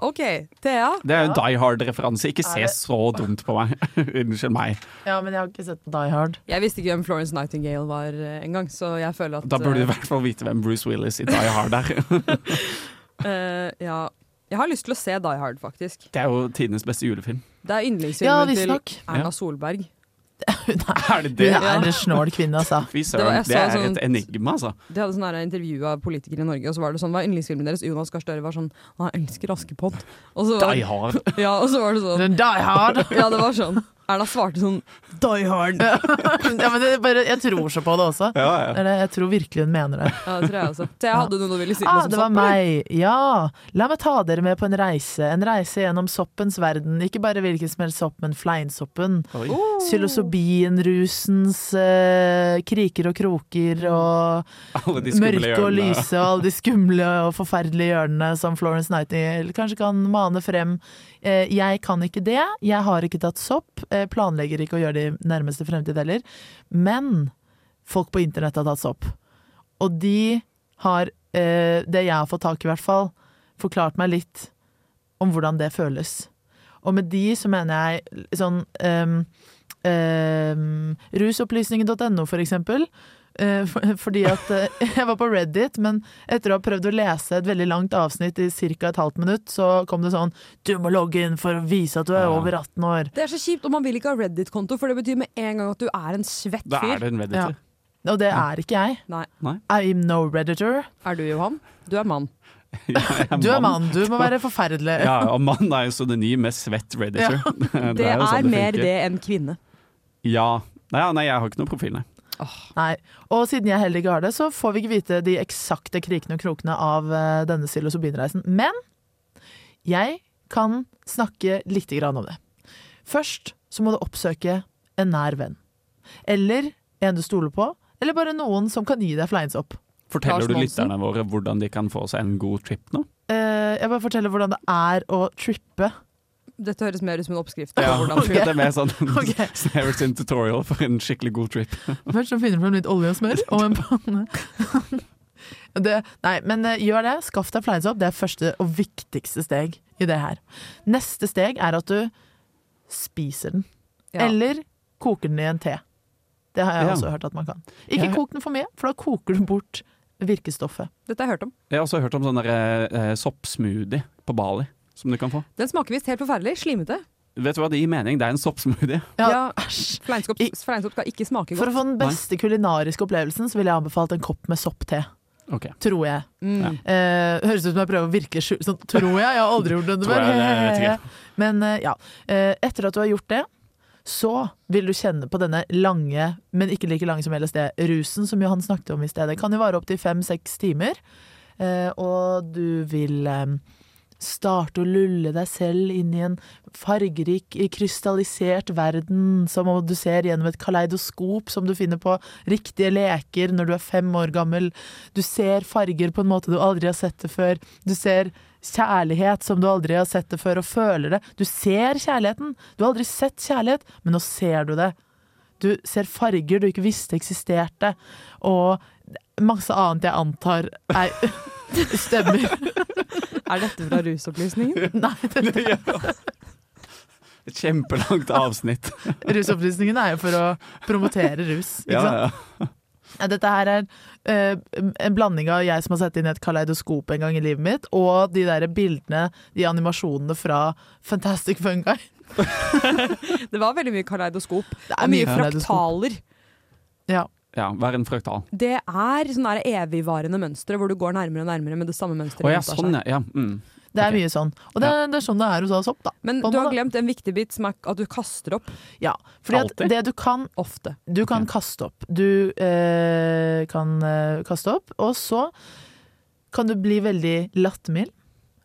[SPEAKER 7] OK, Thea.
[SPEAKER 9] Det er jo en Die Hard-referanse. Ikke
[SPEAKER 8] Er
[SPEAKER 9] se
[SPEAKER 8] det-
[SPEAKER 9] så dumt på meg. Unnskyld meg.
[SPEAKER 8] Ja, men jeg har ikke sett på Die Hard.
[SPEAKER 7] Jeg visste ikke hvem Florence Nightingale var eh, engang, så jeg føler at
[SPEAKER 9] Da burde du
[SPEAKER 7] eh,
[SPEAKER 9] i hvert fall vite hvem Bruce Willis i Die Hard er.
[SPEAKER 7] eh, ja. Jeg har lyst til å se Die Hard, faktisk.
[SPEAKER 9] Det er jo tidenes beste julefilm.
[SPEAKER 7] Det er
[SPEAKER 8] Ja,
[SPEAKER 7] yndlingsfilmen til
[SPEAKER 8] visstnok.
[SPEAKER 7] Erna
[SPEAKER 9] Ja.
[SPEAKER 7] Solberg.
[SPEAKER 8] Hun er,
[SPEAKER 9] Er det
[SPEAKER 8] hun
[SPEAKER 9] det?
[SPEAKER 8] er en snål kvinne, altså.
[SPEAKER 9] Fy
[SPEAKER 7] Det var- jeg
[SPEAKER 9] søren, det
[SPEAKER 7] så
[SPEAKER 9] er
[SPEAKER 7] sånn-
[SPEAKER 9] et enigma, altså.
[SPEAKER 7] De hadde sånn her intervju av politikere i Norge, og så var det sånn Hva er yndlingsfilmen deres? Jonas Gahr Støre var sånn Han elsker Askepott. Og så var,
[SPEAKER 9] Die Hard.
[SPEAKER 7] ja, og så var det sånn
[SPEAKER 8] Den Die Hard.
[SPEAKER 7] Ja, det var sånn. Erna svarte sånn Die hard.
[SPEAKER 8] ja, men det er bare, jeg tror så på det også. Det
[SPEAKER 9] Ja, ja.
[SPEAKER 8] er det, Jeg tror virkelig hun mener det.
[SPEAKER 7] Ja, det tror jeg også. Thea, hadde du noe du ville si? noe
[SPEAKER 8] Ah,
[SPEAKER 7] som
[SPEAKER 8] det var
[SPEAKER 7] satt på deg?
[SPEAKER 8] meg! Ja! La meg ta dere med på en reise. En reise gjennom soppens verden. Ikke bare hvilken som helst sopp, men fleinsoppen.
[SPEAKER 9] Oi.
[SPEAKER 8] Psilocybin, rusens eh, kriker og kroker og
[SPEAKER 9] Alle de skumle
[SPEAKER 8] mørke og
[SPEAKER 9] hjørnene.
[SPEAKER 8] lyse og alle de skumle og forferdelige hjørnene som Florence Nightingale kanskje kan mane frem. Eh, jeg kan ikke det. Jeg har ikke tatt sopp. Eh, planlegger ikke å gjøre det i nærmeste fremtid heller. Men folk på internett har tatt sopp. Og de har, eh, det jeg har fått tak i i hvert fall, forklart meg litt om hvordan det føles. Og med de så mener jeg sånn eh, eh, rusopplysningen.no, for eksempel. Eh, for- fordi at eh, jeg var på Reddit, men etter å ha prøvd å lese et veldig langt avsnitt i ca. et halvt minutt, så kom det sånn 'Du må logge inn for å vise at du er
[SPEAKER 9] Ja.
[SPEAKER 8] over 18 år'.
[SPEAKER 7] Det er så kjipt, og man vil ikke ha Reddit-konto, for det betyr med en gang at du er en svett
[SPEAKER 9] Da er
[SPEAKER 7] fyr.
[SPEAKER 9] det en
[SPEAKER 8] Ja.
[SPEAKER 9] redditor.
[SPEAKER 8] Og det er ikke jeg.
[SPEAKER 7] Nei.
[SPEAKER 8] I'm no redditor.
[SPEAKER 7] Er du Johan? Du er mann.
[SPEAKER 9] Jeg
[SPEAKER 8] Du er mann, du må være forferdelig.
[SPEAKER 9] Ja, og mann er jo synonym med svett redditor.
[SPEAKER 7] Det,
[SPEAKER 9] jo
[SPEAKER 7] er,
[SPEAKER 9] sånn
[SPEAKER 7] mer
[SPEAKER 9] funker.
[SPEAKER 7] det enn kvinne.
[SPEAKER 9] Ja. Nei, ja, nei, jeg har ikke noen profil, nei.
[SPEAKER 8] Nei. Og siden jeg heller ikke har det, så får vi ikke vite de eksakte krikene og krokene av eh, denne psilocybinreisen. Men jeg kan snakke lite grann om det. Først så må du oppsøke en nær venn. Eller en du stoler på. Eller bare noen som kan gi deg fleins opp.
[SPEAKER 9] Forteller
[SPEAKER 7] Lars
[SPEAKER 9] du
[SPEAKER 7] Monsen?
[SPEAKER 9] lytterne våre hvordan de kan få seg en god trip nå?
[SPEAKER 8] Eh, jeg bare forteller hvordan det er å trippe.
[SPEAKER 7] Dette høres mer ut som en oppskrift.
[SPEAKER 9] Ja,
[SPEAKER 7] på hvordan-
[SPEAKER 9] Det er mer sånn
[SPEAKER 8] Ok.
[SPEAKER 9] Snevert sin tutorial for en skikkelig god trip.
[SPEAKER 8] Først så finner du frem litt olje og smør og en panne. Det, nei, men eh, gjør det. Skaff deg fleinsopp. Det er første og viktigste steg i det her. Neste steg er at du spiser den.
[SPEAKER 7] Ja.
[SPEAKER 8] Eller koker den i en te. Det har jeg
[SPEAKER 9] Ja.
[SPEAKER 8] også hørt at man kan. Ikke
[SPEAKER 9] Jeg-
[SPEAKER 8] kok den for mye, for da koker du bort virkestoffet.
[SPEAKER 7] Dette har jeg hørt om.
[SPEAKER 9] Jeg har også hørt om sånn der, eh, soppsmoothie på Bali, som du kan få.
[SPEAKER 7] Den smaker visst helt forferdelig. Slimete.
[SPEAKER 9] Vet du hva det gir mening? Det er en soppsmoothie.
[SPEAKER 7] Ja.
[SPEAKER 8] æsj.
[SPEAKER 7] Fleinsopp,
[SPEAKER 8] I-
[SPEAKER 7] fleinsopp skal ikke smake
[SPEAKER 8] For
[SPEAKER 7] godt.
[SPEAKER 8] å få den beste kulinariske opplevelsen, så ville jeg anbefalt en kopp med soppte.
[SPEAKER 9] Ok.
[SPEAKER 8] Tror jeg.
[SPEAKER 7] Mm.
[SPEAKER 8] Eh, høres ut som jeg prøver å virke skjult. Sånn, tror jeg, jeg har aldri gjort det
[SPEAKER 9] Tror jeg, det
[SPEAKER 8] før.
[SPEAKER 9] vet jeg
[SPEAKER 8] Men eh, ja, Eh, etter at du har gjort det, så vil du kjenne på denne lange, men ikke like lange som LSD, rusen som Johan snakket om i stedet. Kan jo vare opptil fem-seks timer. Eh, og du vil eh, starte å lulle deg selv inn i en fargerik, krystallisert verden, som om du ser gjennom et kaleidoskop som du finner på riktige leker når du er fem år gammel. Du ser farger på en måte du aldri har sett det før. Du ser kjærlighet som du aldri har sett det før, og føler det. Du ser kjærligheten. Du har aldri sett kjærlighet, men nå ser du det. Du ser farger du ikke visste eksisterte, og masse annet jeg antar er Stemmer.
[SPEAKER 7] Er dette fra rusopplysningen?
[SPEAKER 8] Nei, det,
[SPEAKER 9] Et kjempelangt avsnitt.
[SPEAKER 8] Rusopplysningen er jo for å promotere rus. Ikke
[SPEAKER 9] Ja,
[SPEAKER 8] sant?
[SPEAKER 9] ja.
[SPEAKER 8] Ja, Dette her er eh, en blanding av jeg som har sett inn i et kaleidoskop en gang i livet mitt, og de der bildene, de animasjonene fra Fantastic Fungi.
[SPEAKER 7] Det var veldig mye kaleidoskop.
[SPEAKER 8] Det
[SPEAKER 7] Og mye
[SPEAKER 8] kaleidoskop.
[SPEAKER 7] fraktaler.
[SPEAKER 8] Ja.
[SPEAKER 9] ja vær en fraktal.
[SPEAKER 7] Det er sånne der evigvarende mønstre hvor du går nærmere og nærmere med det samme mønsteret.
[SPEAKER 9] Å ja,
[SPEAKER 7] gjentar
[SPEAKER 9] sånn
[SPEAKER 7] seg.
[SPEAKER 9] ja. ja. Mm.
[SPEAKER 8] Det er
[SPEAKER 9] Ok.
[SPEAKER 8] mye sånn. Og det er, det er sånn det er hos oss opp, da.
[SPEAKER 7] Men
[SPEAKER 8] på en
[SPEAKER 7] du har
[SPEAKER 8] måte.
[SPEAKER 7] glemt en viktig bit som er at du kaster opp
[SPEAKER 8] Ja, fordi at
[SPEAKER 9] Alltid?
[SPEAKER 8] det du kan
[SPEAKER 7] ofte.
[SPEAKER 8] Du kan kaste opp. Du eh, kan eh, kaste opp, og så kan du bli veldig lattermild.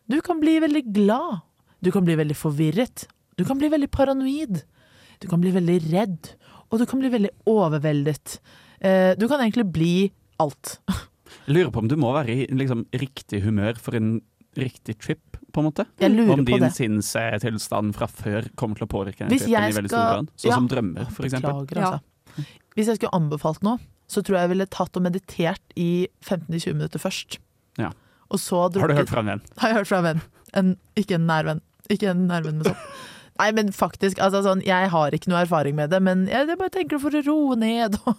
[SPEAKER 8] Du kan bli veldig glad. Du kan bli veldig forvirret. Du kan bli veldig paranoid. Du kan bli veldig redd. Og du kan bli veldig overveldet. Eh, du kan egentlig bli alt.
[SPEAKER 9] Jeg lurer på om du må være i liksom, riktig humør for en riktig trip, på en måte?
[SPEAKER 8] Jeg lurer
[SPEAKER 9] Om
[SPEAKER 8] på
[SPEAKER 9] din
[SPEAKER 8] det.
[SPEAKER 9] sinnstilstand fra før kommer til å påvirke den
[SPEAKER 8] Hvis
[SPEAKER 9] trippen
[SPEAKER 8] jeg
[SPEAKER 9] i veldig
[SPEAKER 8] skal-
[SPEAKER 9] stor grad? Sånn
[SPEAKER 8] ja.
[SPEAKER 9] som drømmer, for eksempel.
[SPEAKER 8] Beklager, altså. Hvis jeg skulle anbefalt noe, så tror jeg jeg ville tatt og meditert i 15-20 minutter først.
[SPEAKER 9] Ja.
[SPEAKER 8] Og så
[SPEAKER 9] Har du
[SPEAKER 8] drukket-
[SPEAKER 9] hørt fra en venn?
[SPEAKER 8] Har jeg hørt fra en venn. En, ikke en nær venn. Ikke en nær venn med sopp. Nei, men faktisk, altså sånn, jeg har ikke noe erfaring med det, men jeg, jeg bare tenker for å roe ned og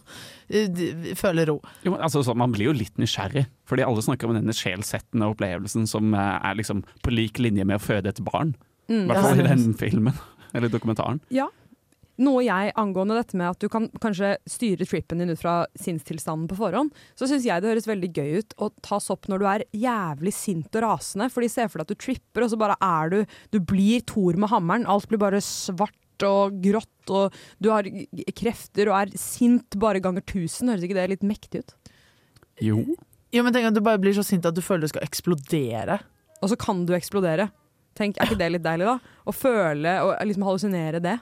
[SPEAKER 8] eh, d- føle ro.
[SPEAKER 9] Jo, men altså, så man blir jo litt nysgjerrig, fordi alle snakker om denne sjelsettende opplevelsen som eh, er liksom på lik linje med å føde et barn. I hvert fall
[SPEAKER 8] Mm, ja.
[SPEAKER 9] i den filmen, eller dokumentaren.
[SPEAKER 7] Ja. Noe jeg angående dette med at du kan kanskje styre trippen din ut fra sinnstilstanden på forhånd, så syns jeg det høres veldig gøy ut å tas opp når du er jævlig sint og rasende. Fordi se for deg at du tripper, og så bare er du Du blir Thor med hammeren. Alt blir bare svart og grått, og du har g- krefter og er sint bare ganger tusen. Høres ikke det litt mektig ut?
[SPEAKER 9] Jo.
[SPEAKER 8] Jo, men tenk at du bare blir så sint at du føler du skal eksplodere.
[SPEAKER 7] Og så kan du eksplodere. Tenk, Er ikke det litt deilig, da? Å føle og liksom hallusinere det.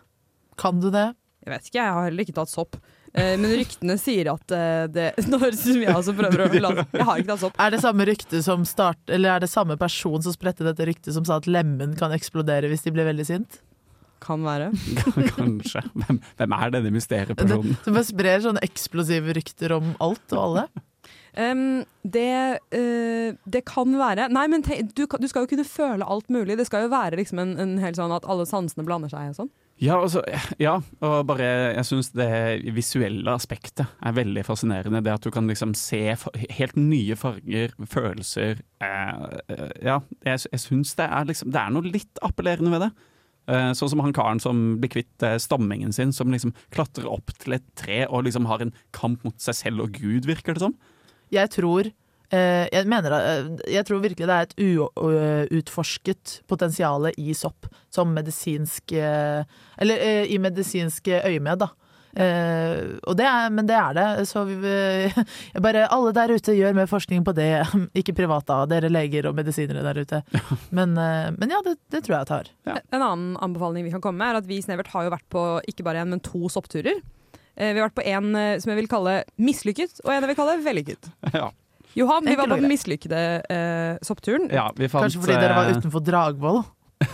[SPEAKER 8] Kan du det?
[SPEAKER 7] Jeg vet ikke, jeg har heller ikke tatt sopp. Eh, men ryktene sier at eh, det Nå høres det ut som jeg også prøver å late Jeg har ikke tatt sopp.
[SPEAKER 8] Er det samme rykte som start, eller er det samme person som spredte dette ryktet som sa at lemen kan eksplodere hvis de blir veldig sint?
[SPEAKER 7] Kan være.
[SPEAKER 9] Kanskje. Hvem, hvem er denne
[SPEAKER 8] Det,
[SPEAKER 9] mysteriepersonen?
[SPEAKER 8] som bare sprer sånne eksplosive rykter om alt og alle.
[SPEAKER 7] Ehm, det, eh, det kan være Nei, men te, du, kan- du skal jo kunne føle alt mulig. Det skal jo være liksom en, en helt sånn at alle sansene blander seg og sånn.
[SPEAKER 9] Ja, altså, ja, og bare jeg syns det visuelle aspektet er veldig fascinerende. Det at du kan liksom se fa- helt nye farger, følelser eh, eh, Ja, jeg, sy- jeg syns det er liksom Det er noe litt appellerende ved det. Eh, sånn som han karen som blir kvitt eh, stammingen sin, som liksom klatrer opp til et tre og liksom har en kamp mot seg selv og Gud, virker det som.
[SPEAKER 8] Jeg tror eh, jeg, mener, eh, jeg tror virkelig det er et uutforsket potensial i sopp som medisinsk eh, Eller eh, i medisinske øyemed, da. Eh, og det er, men det er det. Så vi, jeg bare Alle der ute gjør mer forskning på det. Ikke privat, da. Dere leger og medisinere der ute. Men, eh, men ja, det, det tror jeg jeg tar.
[SPEAKER 7] En annen anbefaling vi kan komme med, er at vi i Snevert har jo vært på ikke bare én, men to soppturer. Eh, Vi har vært på en eh, som jeg vil kalle mislykket, og en jeg vil kalle vellykket.
[SPEAKER 9] Ja.
[SPEAKER 7] Johan, vi
[SPEAKER 8] Enkelt
[SPEAKER 7] var på
[SPEAKER 8] og
[SPEAKER 7] den
[SPEAKER 8] greit.
[SPEAKER 7] mislykkede eh, soppturen.
[SPEAKER 9] Ja, vi fant,
[SPEAKER 8] Kanskje fordi dere var
[SPEAKER 9] eh,
[SPEAKER 8] utenfor Dragvoll.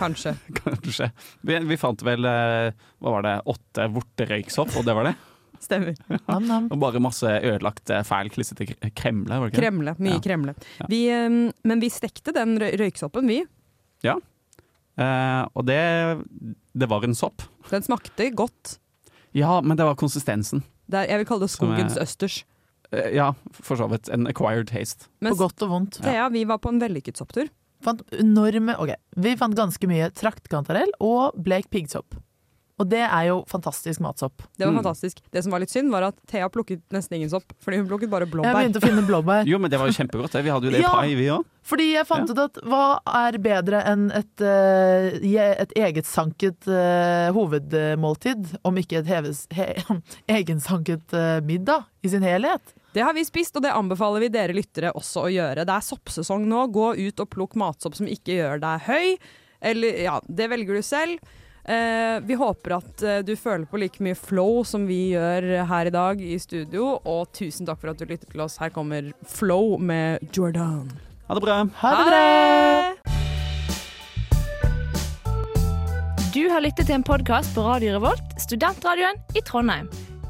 [SPEAKER 7] Kanskje.
[SPEAKER 9] Kanskje. Vi, vi fant vel eh, hva var det, åtte vorterøyksopp, og det var det.
[SPEAKER 7] Stemmer.
[SPEAKER 8] Nam-nam.
[SPEAKER 9] Og bare masse ødelagt, eh, fæl, klissete kre- kremle. Var det ikke? det?
[SPEAKER 7] Kremle. Mye
[SPEAKER 9] Ja.
[SPEAKER 7] kremle.
[SPEAKER 9] Ja.
[SPEAKER 7] Vi, eh, men vi stekte den røy- røyksoppen, vi.
[SPEAKER 9] Eh, og det, det var en sopp.
[SPEAKER 7] Den smakte godt.
[SPEAKER 9] Ja, men det var konsistensen.
[SPEAKER 7] Det er- jeg vil kalle det
[SPEAKER 9] Som er-
[SPEAKER 7] skogens østers.
[SPEAKER 9] Eh, ja, for så vidt. En acquired taste.
[SPEAKER 7] Mens
[SPEAKER 8] På godt og vondt.
[SPEAKER 7] Thea, vi var på en vellykket sopptur.
[SPEAKER 8] fant enorme Ok, vi fant ganske mye traktkantarell og blek piggsopp. Og det er jo fantastisk matsopp.
[SPEAKER 7] Det var
[SPEAKER 9] Mm.
[SPEAKER 7] fantastisk. Det som var litt synd, var at Thea plukket nesten ingen sopp, fordi hun plukket bare
[SPEAKER 8] Jeg
[SPEAKER 7] blåbær.
[SPEAKER 8] begynte å finne blåbær.
[SPEAKER 9] Jo, men det var jo kjempegodt. det. Vi hadde jo det i
[SPEAKER 8] Ja.
[SPEAKER 9] pai, vi òg.
[SPEAKER 8] Fordi jeg fant ut at hva er bedre enn et, eh, je- et egetsanket eh, hovedmåltid, om ikke et heves, he, egensanket eh, middag i sin helhet?
[SPEAKER 7] Det har vi spist, og det anbefaler vi dere lyttere også å gjøre. Det er soppsesong nå. Gå ut og plukk matsopp som ikke gjør deg høy. Eller, ja, det velger du selv. Eh, vi håper at eh, du føler på like mye flow som vi gjør her i dag i studio. Og tusen takk for at du lytter til oss. Her kommer Flow med Jordan.
[SPEAKER 9] Ha det bra.
[SPEAKER 8] Ha det bra!
[SPEAKER 11] Du har lyttet til en podkast på Radio Revolt, studentradioen i Trondheim.